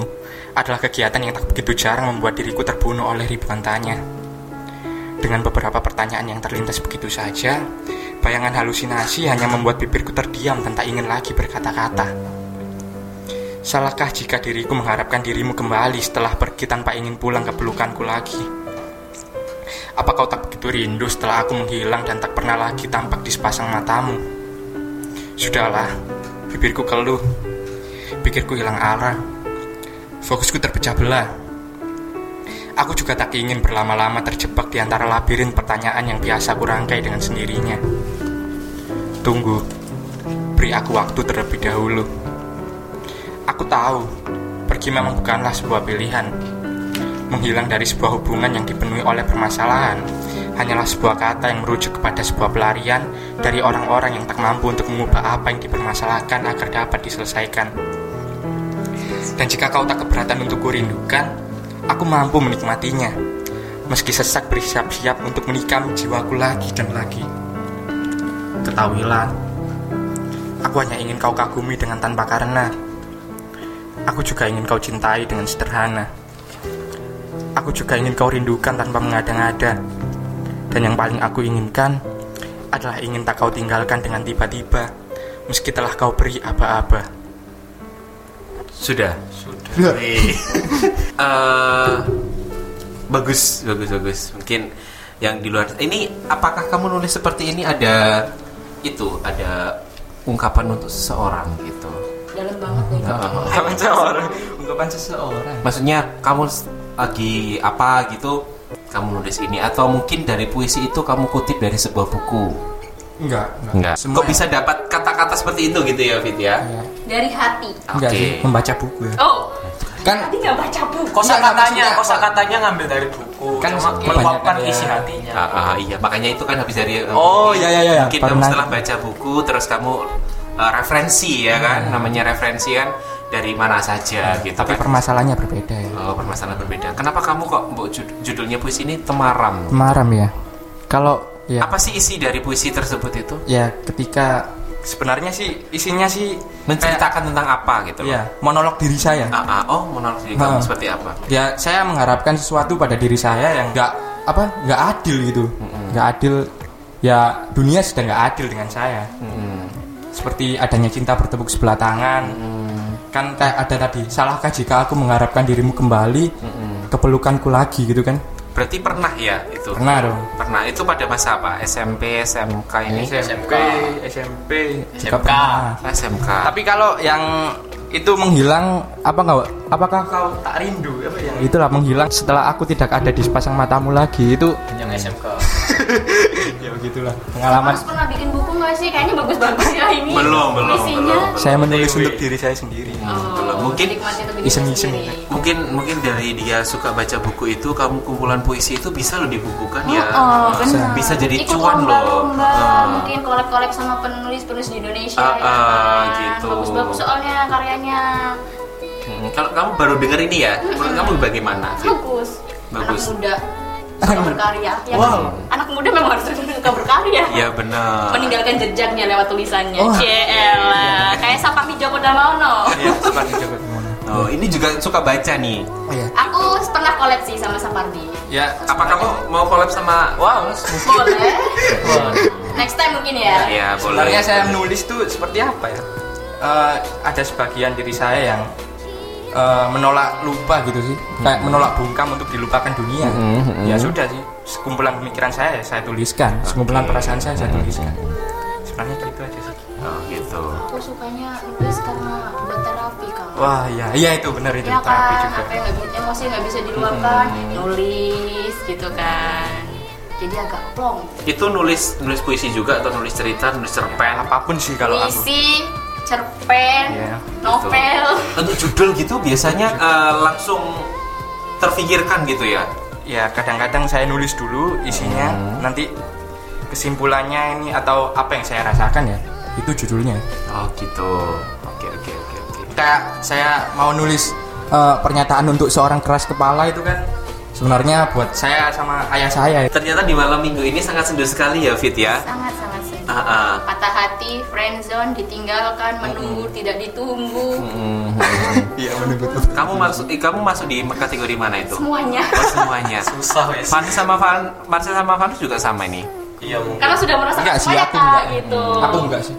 [SPEAKER 4] adalah kegiatan yang tak begitu jarang membuat diriku terbunuh oleh ribuan tanya. Dengan beberapa pertanyaan yang terlintas begitu saja, bayangan halusinasi hanya membuat bibirku terdiam dan tak ingin lagi berkata-kata. Salahkah jika diriku mengharapkan dirimu kembali setelah pergi tanpa ingin pulang ke pelukanku lagi? Apa kau tak begitu rindu setelah aku menghilang dan tak pernah lagi tampak di sepasang matamu? Sudahlah, bibirku keluh. Pikirku hilang arah. Fokusku terpecah belah. Aku juga tak ingin berlama-lama terjebak di antara labirin pertanyaan yang biasa kurangkai dengan sendirinya. Tunggu. Beri aku waktu terlebih dahulu. Aku tahu, pergi memang bukanlah sebuah pilihan. Menghilang dari sebuah hubungan yang dipenuhi oleh permasalahan hanyalah sebuah kata yang merujuk kepada sebuah pelarian dari orang-orang yang tak mampu untuk mengubah apa yang dipermasalahkan agar dapat diselesaikan. Dan jika kau tak keberatan untuk kurindukan, aku mampu menikmatinya. Meski sesak bersiap-siap untuk menikam jiwaku lagi dan lagi. Ketahuilah, aku hanya ingin kau kagumi dengan tanpa karena. Aku juga ingin kau cintai dengan sederhana. Aku juga ingin kau rindukan tanpa mengada-ngada. Dan yang paling aku inginkan adalah ingin tak kau tinggalkan dengan tiba-tiba, meski telah kau beri aba-aba.
[SPEAKER 2] sudah sudah Eh, bagus bagus bagus mungkin yang di luar ini apakah kamu nulis seperti ini ada itu ada ungkapan untuk seseorang gitu
[SPEAKER 7] dalam banget nih
[SPEAKER 2] Eh,
[SPEAKER 4] Ungkapan seseorang. Ungkapan seseorang.
[SPEAKER 2] maksudnya kamu s- lagi apa gitu kamu nulis ini atau mungkin dari puisi itu kamu kutip dari sebuah buku
[SPEAKER 4] Enggak,
[SPEAKER 2] enggak
[SPEAKER 4] Semua
[SPEAKER 2] kok bisa dapat kata-kata seperti itu gitu ya Fit ya
[SPEAKER 5] dari hati.
[SPEAKER 2] oke
[SPEAKER 4] membaca buku ya.
[SPEAKER 5] Oh,
[SPEAKER 4] Kan
[SPEAKER 5] tadi nggak baca buku.
[SPEAKER 3] Kosa
[SPEAKER 4] Enggak, enggak,
[SPEAKER 3] katanya,
[SPEAKER 4] maksudnya
[SPEAKER 3] kosa
[SPEAKER 4] apa?
[SPEAKER 3] katanya ngambil dari buku,
[SPEAKER 4] Kan
[SPEAKER 3] cuma
[SPEAKER 4] kebanyakan
[SPEAKER 3] meluapkan
[SPEAKER 4] ya.
[SPEAKER 3] isi hatinya.
[SPEAKER 2] Ah, ah, iya ah, makanya itu kan habis dari
[SPEAKER 4] Oh, iya, iya, iya.
[SPEAKER 2] mungkin
[SPEAKER 4] Pernah.
[SPEAKER 2] kamu setelah baca buku terus kamu eh, referensi
[SPEAKER 4] Hmm.
[SPEAKER 2] ya kan namanya referensi kan dari mana saja gitu
[SPEAKER 4] tapi
[SPEAKER 2] kan
[SPEAKER 4] permasalahannya berbeda ya
[SPEAKER 2] Oh, permasalahan berbeda kenapa kamu kok Bu, jud- judulnya puisi ini temaram
[SPEAKER 4] Maram ya kalau ya
[SPEAKER 2] apa sih isi dari puisi tersebut itu
[SPEAKER 4] ya ketika sebenarnya sih isinya sih
[SPEAKER 2] menceritakan tentang apa gitu loh.
[SPEAKER 4] ya monolog diri saya
[SPEAKER 2] Ah, ah, oh menurut diri kamu
[SPEAKER 4] Ha.
[SPEAKER 2] seperti apa
[SPEAKER 4] ya saya mengharapkan sesuatu pada diri saya yang nggak apa nggak adil gitu nggak adil ya dunia sudah nggak adil dengan saya seperti adanya cinta bertepuk sebelah tangan kan kayak ada tadi salahkah jika aku mengharapkan dirimu kembali kepelukanku lagi gitu kan
[SPEAKER 2] berarti pernah ya itu
[SPEAKER 4] pernah dong
[SPEAKER 2] Pernah. itu pada masa apa SMP SMK ini
[SPEAKER 3] SMK.
[SPEAKER 4] SMP
[SPEAKER 3] SMK.
[SPEAKER 2] SMK
[SPEAKER 4] tapi kalau yang itu menghilang apa nggak apakah kau tak rindu apa yang itulah menghilang setelah aku tidak ada di sepasang matamu lagi itu
[SPEAKER 3] yang SMK
[SPEAKER 4] ya begitulah pengalaman
[SPEAKER 5] Mas pernah bikin buku nggak sih? Kayaknya bagus-bagus ya ini.
[SPEAKER 2] Belum, belum,
[SPEAKER 5] Isinya.
[SPEAKER 4] saya menulis untuk diri saya sendiri
[SPEAKER 2] Belum. Mungkin
[SPEAKER 5] Nikmati untuk diri
[SPEAKER 4] iseng-iseng
[SPEAKER 5] sendiri.
[SPEAKER 2] mungkin mungkin dari dia suka baca buku itu kamu kumpulan puisi itu bisa loh dibukukan ya
[SPEAKER 5] Oh, benar.
[SPEAKER 2] bisa jadi
[SPEAKER 5] Ikut
[SPEAKER 2] cuan loh
[SPEAKER 5] lomba-lomba,
[SPEAKER 2] Ah.
[SPEAKER 5] mungkin kolab-kolab sama penulis-penulis di Indonesia
[SPEAKER 2] Ah,
[SPEAKER 5] ya
[SPEAKER 2] ah,
[SPEAKER 5] kan?
[SPEAKER 2] gitu.
[SPEAKER 5] Bagus-bagus soalnya karyanya.
[SPEAKER 2] Hmm, kalau kamu baru denger ini ya menurut kamu bagaimana Fit?
[SPEAKER 5] Bagus.
[SPEAKER 2] Bagus.
[SPEAKER 5] Anak muda suka berkarya. Ya, kan?
[SPEAKER 2] Wow.
[SPEAKER 5] Anak muda memang harus <laughs> suka berkarya.
[SPEAKER 2] ya benar
[SPEAKER 5] Meninggalkan jejaknya lewat tulisannya. Cielah. Kayak Sapami Joko Damono.
[SPEAKER 2] oh, ini juga suka baca nih
[SPEAKER 4] iya.
[SPEAKER 5] Aku pernah koleksi sama Sapardi.
[SPEAKER 4] ya
[SPEAKER 2] apa kamu mau collab sama wow
[SPEAKER 5] Boleh. Next time mungkin ya.
[SPEAKER 4] Iya.
[SPEAKER 2] ya boleh
[SPEAKER 4] sebenarnya saya menulis tuh seperti apa ya Eh, ada sebagian diri saya yang eh, menolak lupa gitu sih kayak menolak bungkam untuk dilupakan dunia ya sudah sih sekumpulan pemikiran saya ya saya tuliskan sekumpulan perasaan saya saya tuliskan sebenarnya gitu aja sih
[SPEAKER 2] oh, gitu
[SPEAKER 5] Aku sukanya nulis karena buat terapi kamu.
[SPEAKER 4] Wah ya, iya itu benar itu
[SPEAKER 5] ya
[SPEAKER 4] terapi
[SPEAKER 5] kan
[SPEAKER 4] juga. Hmm.
[SPEAKER 5] apa yang nggak bi- emosi yang nggak bisa diluapkan nulis gitu kan jadi agak plong
[SPEAKER 2] itu nulis nulis puisi juga atau nulis cerita nulis cerpen gitu?
[SPEAKER 4] Apapun sih kalau aku.
[SPEAKER 5] puisi cerpen
[SPEAKER 4] Iya,
[SPEAKER 5] novel
[SPEAKER 2] untuk judul gitu biasanya eh, langsung terfikirkan gitu ya
[SPEAKER 4] Ya kadang-kadang saya nulis dulu isinya, nanti kesimpulannya ini atau apa yang saya rasakan ya itu judulnya.
[SPEAKER 2] oh gitu oke oke oke oke
[SPEAKER 4] Kayak saya mau nulis eh, pernyataan untuk seorang keras kepala itu kan sebenarnya buat saya sama ayah saya.
[SPEAKER 2] ternyata di malam minggu ini sangat sendu sekali ya Fit ya
[SPEAKER 5] sangat sangat sedih
[SPEAKER 2] Ah, ah.
[SPEAKER 5] patah hati friendzone ditinggalkan menunggu
[SPEAKER 4] Hmm.
[SPEAKER 5] tidak ditunggu
[SPEAKER 4] Iya menunggu
[SPEAKER 2] kamu masuk eh, kamu masuk di kategori mana itu
[SPEAKER 5] semuanya
[SPEAKER 2] Oh, semuanya
[SPEAKER 3] susah wes
[SPEAKER 2] Fanus sama Van Marcel sama Fanus juga sama ini
[SPEAKER 3] iya mungkin
[SPEAKER 5] karena sudah merasa
[SPEAKER 4] Enggak sih
[SPEAKER 5] semuanya
[SPEAKER 4] aku
[SPEAKER 5] kak
[SPEAKER 4] enggak.
[SPEAKER 5] gitu
[SPEAKER 4] Aku enggak sih.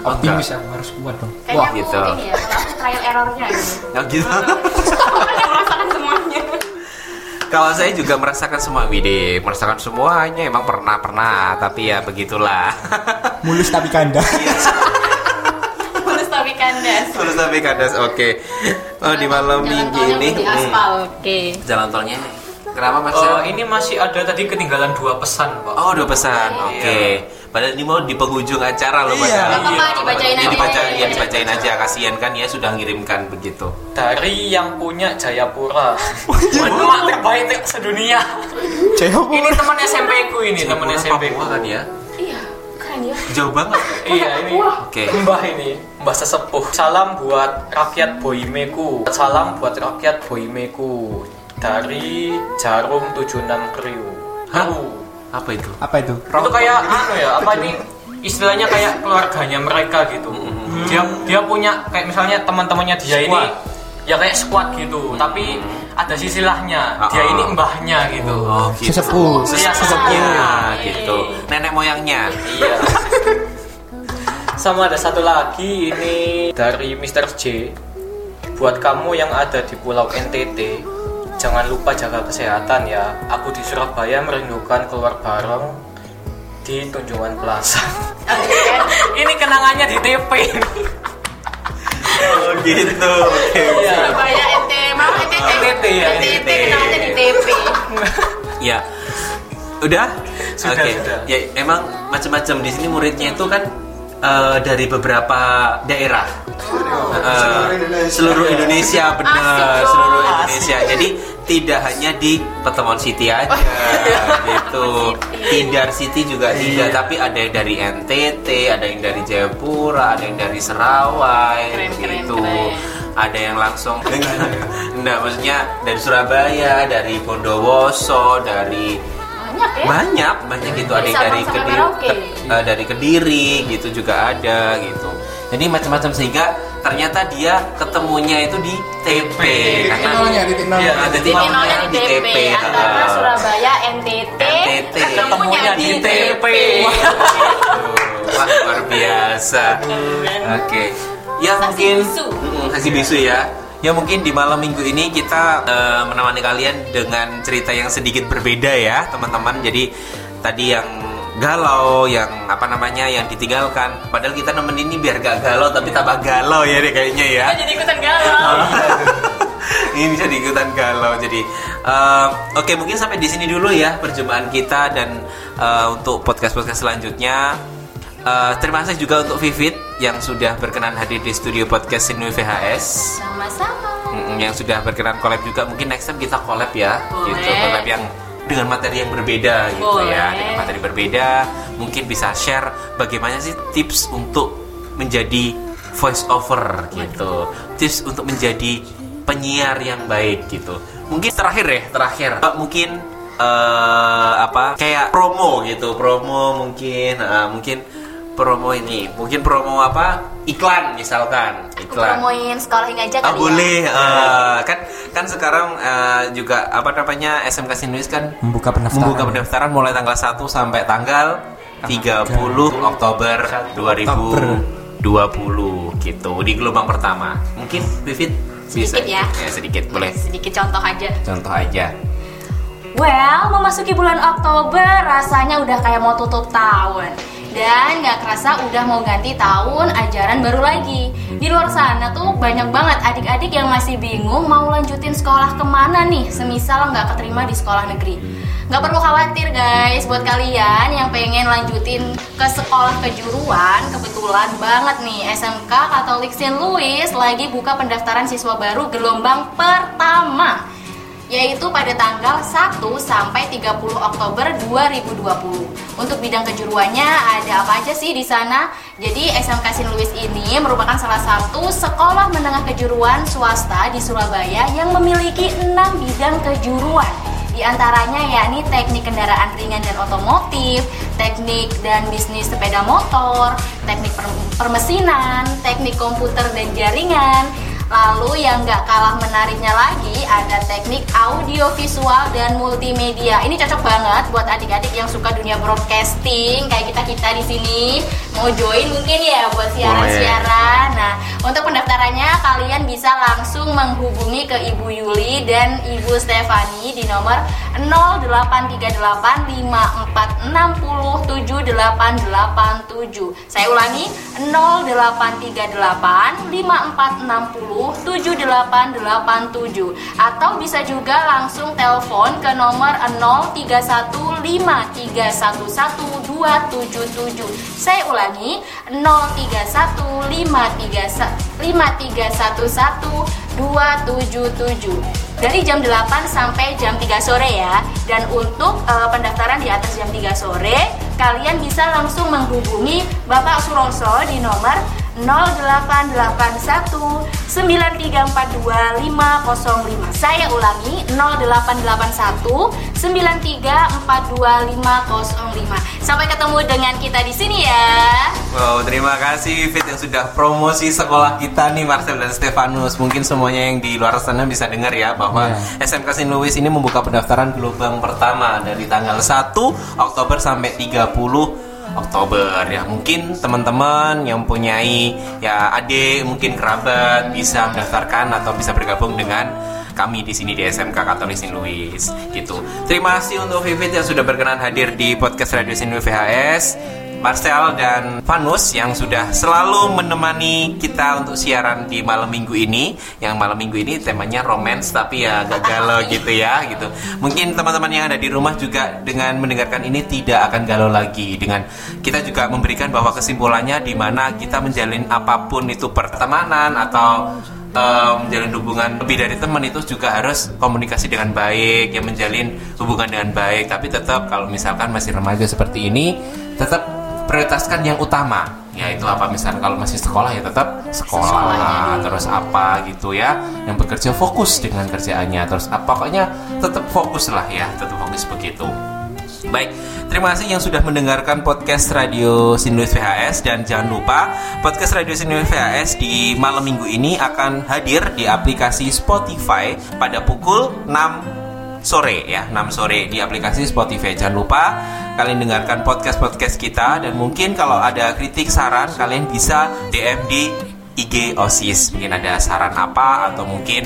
[SPEAKER 2] Oh,
[SPEAKER 4] Optimis aku harus kuat dong.
[SPEAKER 5] kayaknya
[SPEAKER 2] Wah,
[SPEAKER 5] aku
[SPEAKER 2] gitu.
[SPEAKER 5] ini ya kalau aku trial
[SPEAKER 2] <laughs>
[SPEAKER 5] errornya gitu
[SPEAKER 2] Ya, gitu
[SPEAKER 5] aku kan yang merasakan semuanya
[SPEAKER 2] kalau saya juga merasakan semua Widi merasakan semuanya emang pernah pernah tapi ya begitulah <laughs>
[SPEAKER 4] Mulus tapi kandang. <laughs>
[SPEAKER 5] terus tapi kandas
[SPEAKER 2] terus sampai kandas oke oh di malam
[SPEAKER 5] Jalan
[SPEAKER 2] minggu
[SPEAKER 5] tolnya
[SPEAKER 2] ini
[SPEAKER 5] udah di
[SPEAKER 2] hmm.
[SPEAKER 5] aspal oke
[SPEAKER 2] jalan tolnya kenapa Marcel
[SPEAKER 3] Eh, ini masih ada tadi ketinggalan dua pesan pak
[SPEAKER 2] Oh udah pesan, oke. Padahal ini mau di penghujung acara loh,
[SPEAKER 4] Iya.
[SPEAKER 2] padahal.
[SPEAKER 5] Gak apa-apa, dibacain
[SPEAKER 2] Ini
[SPEAKER 5] aja.
[SPEAKER 2] dibaca- ya, dibacain aja, kasihan kan ya sudah ngirimkan begitu.
[SPEAKER 3] dari yang punya Jayapura emak terbaik te- sedunia ini teman SMP ku
[SPEAKER 4] Iya,
[SPEAKER 3] ini teman
[SPEAKER 2] Jayapura,
[SPEAKER 3] SMP ku
[SPEAKER 2] Papua kan ya,
[SPEAKER 5] iya keren ya
[SPEAKER 2] jauh banget.
[SPEAKER 3] iya ini
[SPEAKER 2] Oke.
[SPEAKER 3] mbah ini mbah sesepuh salam buat rakyat Boimeku salam buat rakyat Boimeku dari jarum 76 kriu
[SPEAKER 2] Hah?
[SPEAKER 3] Kriu.
[SPEAKER 2] Apa itu?
[SPEAKER 4] Apa itu?
[SPEAKER 3] itu kayak anu ya apa ini istilahnya kayak keluarganya mereka gitu dia dia punya kayak misalnya teman-temannya dia ini
[SPEAKER 2] Squad.
[SPEAKER 3] ya kayak squad gitu tapi ada sisilahnya dia
[SPEAKER 2] Ah.
[SPEAKER 3] ini mbahnya gitu
[SPEAKER 2] Oh gitu.
[SPEAKER 4] Sesepuh.
[SPEAKER 2] Iya, sesepuhnya gitu. Nenek moyangnya.
[SPEAKER 3] iya <laughs> sama ada satu lagi ini dari Mr. J buat kamu yang ada di pulau NTT jangan lupa jaga kesehatan ya aku di Surabaya merindukan keluar bareng di Tunjungan Plaza ini kenangannya di TP
[SPEAKER 2] Oh gitu.
[SPEAKER 5] Surabaya NT, maaf NT,
[SPEAKER 3] NTT ya
[SPEAKER 5] NTT kenalnya di TP.
[SPEAKER 2] Ya. Udah?
[SPEAKER 3] Sudah,
[SPEAKER 2] Oke.
[SPEAKER 3] sudah.
[SPEAKER 2] Ya emang macam-macam di sini muridnya itu kan eh, dari beberapa daerah. Eh, seluruh Indonesia benar,
[SPEAKER 5] Asik dong.
[SPEAKER 2] seluruh Indonesia. Jadi tidak hanya di pertemuan City
[SPEAKER 5] <laughs>
[SPEAKER 2] aja gitu. Tidar City
[SPEAKER 5] Iya.
[SPEAKER 2] juga tidak, tapi ada yang dari NTT, ada yang dari Jayapura, ada yang dari Serawai
[SPEAKER 5] Keren, keren,
[SPEAKER 2] gitu.
[SPEAKER 5] keren.
[SPEAKER 2] Ada yang langsung <laughs> Enggak, maksudnya dari Surabaya, dari Bondowoso, dari
[SPEAKER 5] banyak ya
[SPEAKER 2] banyak banyak gitu ada
[SPEAKER 5] Dari
[SPEAKER 2] yang dari
[SPEAKER 5] Sabang sampai
[SPEAKER 2] kediri
[SPEAKER 5] Merauke.
[SPEAKER 2] ke- eh, dari kediri gitu juga ada gitu jadi macam-macam sehingga ternyata dia ketemunya itu di TP
[SPEAKER 8] Titik nolnya, titik nol.
[SPEAKER 2] Iya, ada
[SPEAKER 5] Titik nolnya di TP antara
[SPEAKER 2] eh,
[SPEAKER 5] Surabaya NTT
[SPEAKER 2] NTT
[SPEAKER 5] ketemunya di TP
[SPEAKER 2] Wah, luar biasa. Oke. Ya mungkin
[SPEAKER 5] bisu.
[SPEAKER 2] Mm, Haji bisu ya. Ya mungkin di malam minggu ini kita eh, menemani kalian dengan cerita yang sedikit berbeda ya, teman-teman. Jadi tadi yang galau, yang apa namanya, yang ditinggalkan. Padahal kita nemenin ini biar gak galau, tapi tambah galau ya deh kayaknya ya.
[SPEAKER 5] Kita jadi ikutan galau
[SPEAKER 2] ini bisa diikutan galau jadi eh, oke mungkin sampai di sini dulu ya perjumpaan kita dan eh, untuk podcast podcast selanjutnya Eh, terima kasih juga untuk Vivit yang sudah berkenan hadir di studio podcast Sinui VHS
[SPEAKER 5] sama-sama
[SPEAKER 2] Mm, yang sudah berkenan collab juga mungkin next time kita collab ya
[SPEAKER 5] Boleh.
[SPEAKER 2] gitu collab yang dengan materi yang berbeda gitu ya
[SPEAKER 5] Boleh.
[SPEAKER 2] dengan materi berbeda mungkin bisa share bagaimana sih tips untuk menjadi voice over gitu tips untuk menjadi penyiar yang baik gitu mungkin terakhir ya terakhir Eh, mungkin eh apa kayak promo gitu promo mungkin eh, mungkin promo ini mungkin promo apa iklan misalkan iklan
[SPEAKER 5] promoin sekolah ini
[SPEAKER 2] Ah,
[SPEAKER 5] aja kali ya
[SPEAKER 2] boleh eh, kan kan sekarang eh, juga apa namanya SMK Sinuis kan
[SPEAKER 8] Membuka pendaftaran.
[SPEAKER 2] membuka pendaftaran mulai tanggal 1 sampai tanggal 30 Oktober 2020 gitu di gelombang pertama. Mungkin Vivit bisa
[SPEAKER 5] Sedikit ya.
[SPEAKER 2] sedikit boleh
[SPEAKER 5] sedikit contoh aja
[SPEAKER 2] contoh aja.
[SPEAKER 5] Well, memasuki bulan Oktober rasanya udah kayak mau tutup tahun dan nggak kerasa udah mau ganti tahun ajaran baru lagi. Di luar sana tuh banyak banget adik-adik yang masih bingung mau lanjutin sekolah kemana nih, semisal nggak keterima di sekolah negeri. Nggak perlu khawatir guys, buat kalian yang pengen lanjutin ke sekolah kejuruan, kebetulan banget nih SMK Katolik Saint Louis lagi buka pendaftaran siswa baru gelombang pertama yaitu pada tanggal 1 sampai 30 Oktober 2020. Untuk bidang kejuruannya ada apa aja sih di sana? Jadi SMK Sin Louis ini merupakan salah satu sekolah menengah kejuruan swasta di Surabaya yang memiliki enam bidang kejuruan. Di antaranya yakni teknik kendaraan ringan dan otomotif, teknik dan bisnis sepeda motor, teknik per- permesinan, teknik komputer dan jaringan, Lalu yang nggak kalah menariknya lagi ada teknik audio visual dan multimedia. Ini cocok banget buat adik-adik yang suka dunia broadcasting kayak kita kita di sini. Mau join mungkin ya buat siaran-siaran. Nah untuk pendaftarannya kalian bisa langsung menghubungi ke Ibu Yuli dan Ibu Stefani di nomor 0838 5460 Saya ulangi 0838 5460 7887 atau bisa juga langsung telepon ke nomor 031 5311 277. Saya ulangi 031 5311 277 dari jam 8 sampai jam 3 sore ya. Dan untuk eh, pendaftaran di atas jam 3 sore, kalian bisa langsung menghubungi Bapak Suroso di nomor 0881 9342 505. Saya ulangi 0881 9342 505. Sampai ketemu dengan kita di sini ya.
[SPEAKER 2] Wow, terima kasih Vivit yang sudah promosi sekolah kita nih Marcel dan Stefanus. Mungkin semuanya yang di luar sana bisa dengar ya bahwa SMK Saint Louis ini membuka pendaftaran gelombang pertama dari tanggal 1 Oktober sampai 30 Oktober ya mungkin teman-teman yang mempunyai ya adik mungkin kerabat bisa mendaftarkan atau bisa bergabung dengan kami di sini di SMK Katolik Saint Louis gitu. Terima kasih untuk Vivit yang sudah berkenan hadir di podcast Radio Saint Louis VHS. Marcel dan Vanus yang sudah selalu menemani kita untuk siaran di malam minggu ini yang malam minggu ini temanya romance tapi ya agak galau gitu ya gitu mungkin teman-teman yang ada di rumah juga dengan mendengarkan ini tidak akan galau lagi dengan kita juga memberikan bahwa kesimpulannya di mana kita menjalin apapun itu pertemanan atau eh, menjalin hubungan lebih dari teman itu juga harus komunikasi dengan baik ya menjalin hubungan dengan baik tapi tetap kalau misalkan masih remaja seperti ini tetap prioritaskan yang utama ya itu apa misalkan kalau masih sekolah ya tetap sekolah, terus apa gitu ya yang bekerja fokus dengan kerjaannya terus apa pokoknya tetap fokus lah ya tetap fokus begitu Baik, terima kasih yang sudah mendengarkan podcast Radio Sinduis VHS dan jangan lupa podcast Radio Sinduis VHS di malam minggu ini akan hadir di aplikasi Spotify pada pukul 6 sore ya, 6 sore di aplikasi Spotify. Jangan lupa kalian dengarkan podcast-podcast kita dan mungkin kalau ada kritik saran kalian bisa DM di IG OSIS. Mungkin ada saran apa atau mungkin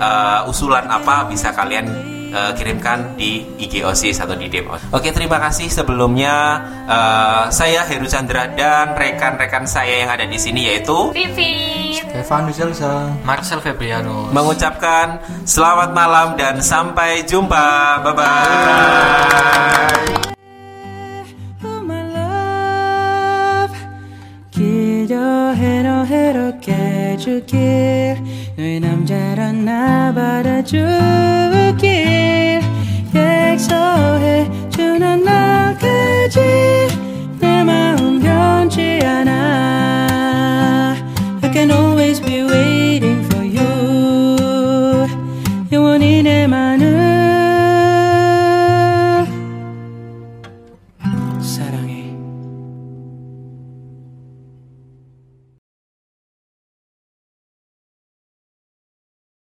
[SPEAKER 2] eh, usulan apa bisa kalian eh, kirimkan di IG OSIS atau di DM OSIS. Oke, terima kasih sebelumnya eh, saya Heru Chandra dan rekan-rekan saya yang ada di sini yaitu
[SPEAKER 5] Vivi.
[SPEAKER 8] Evan Rizalsa.
[SPEAKER 3] Marcel Febriano
[SPEAKER 2] mengucapkan selamat malam dan sampai jumpa. Bye bye.
[SPEAKER 1] Oh my love 기도해도 해도 깨주길 너의 남자라 나 받아주길 약속해 주는 나까지 내 마음 변치 않아 I can always be waiting for you 영원히 내맘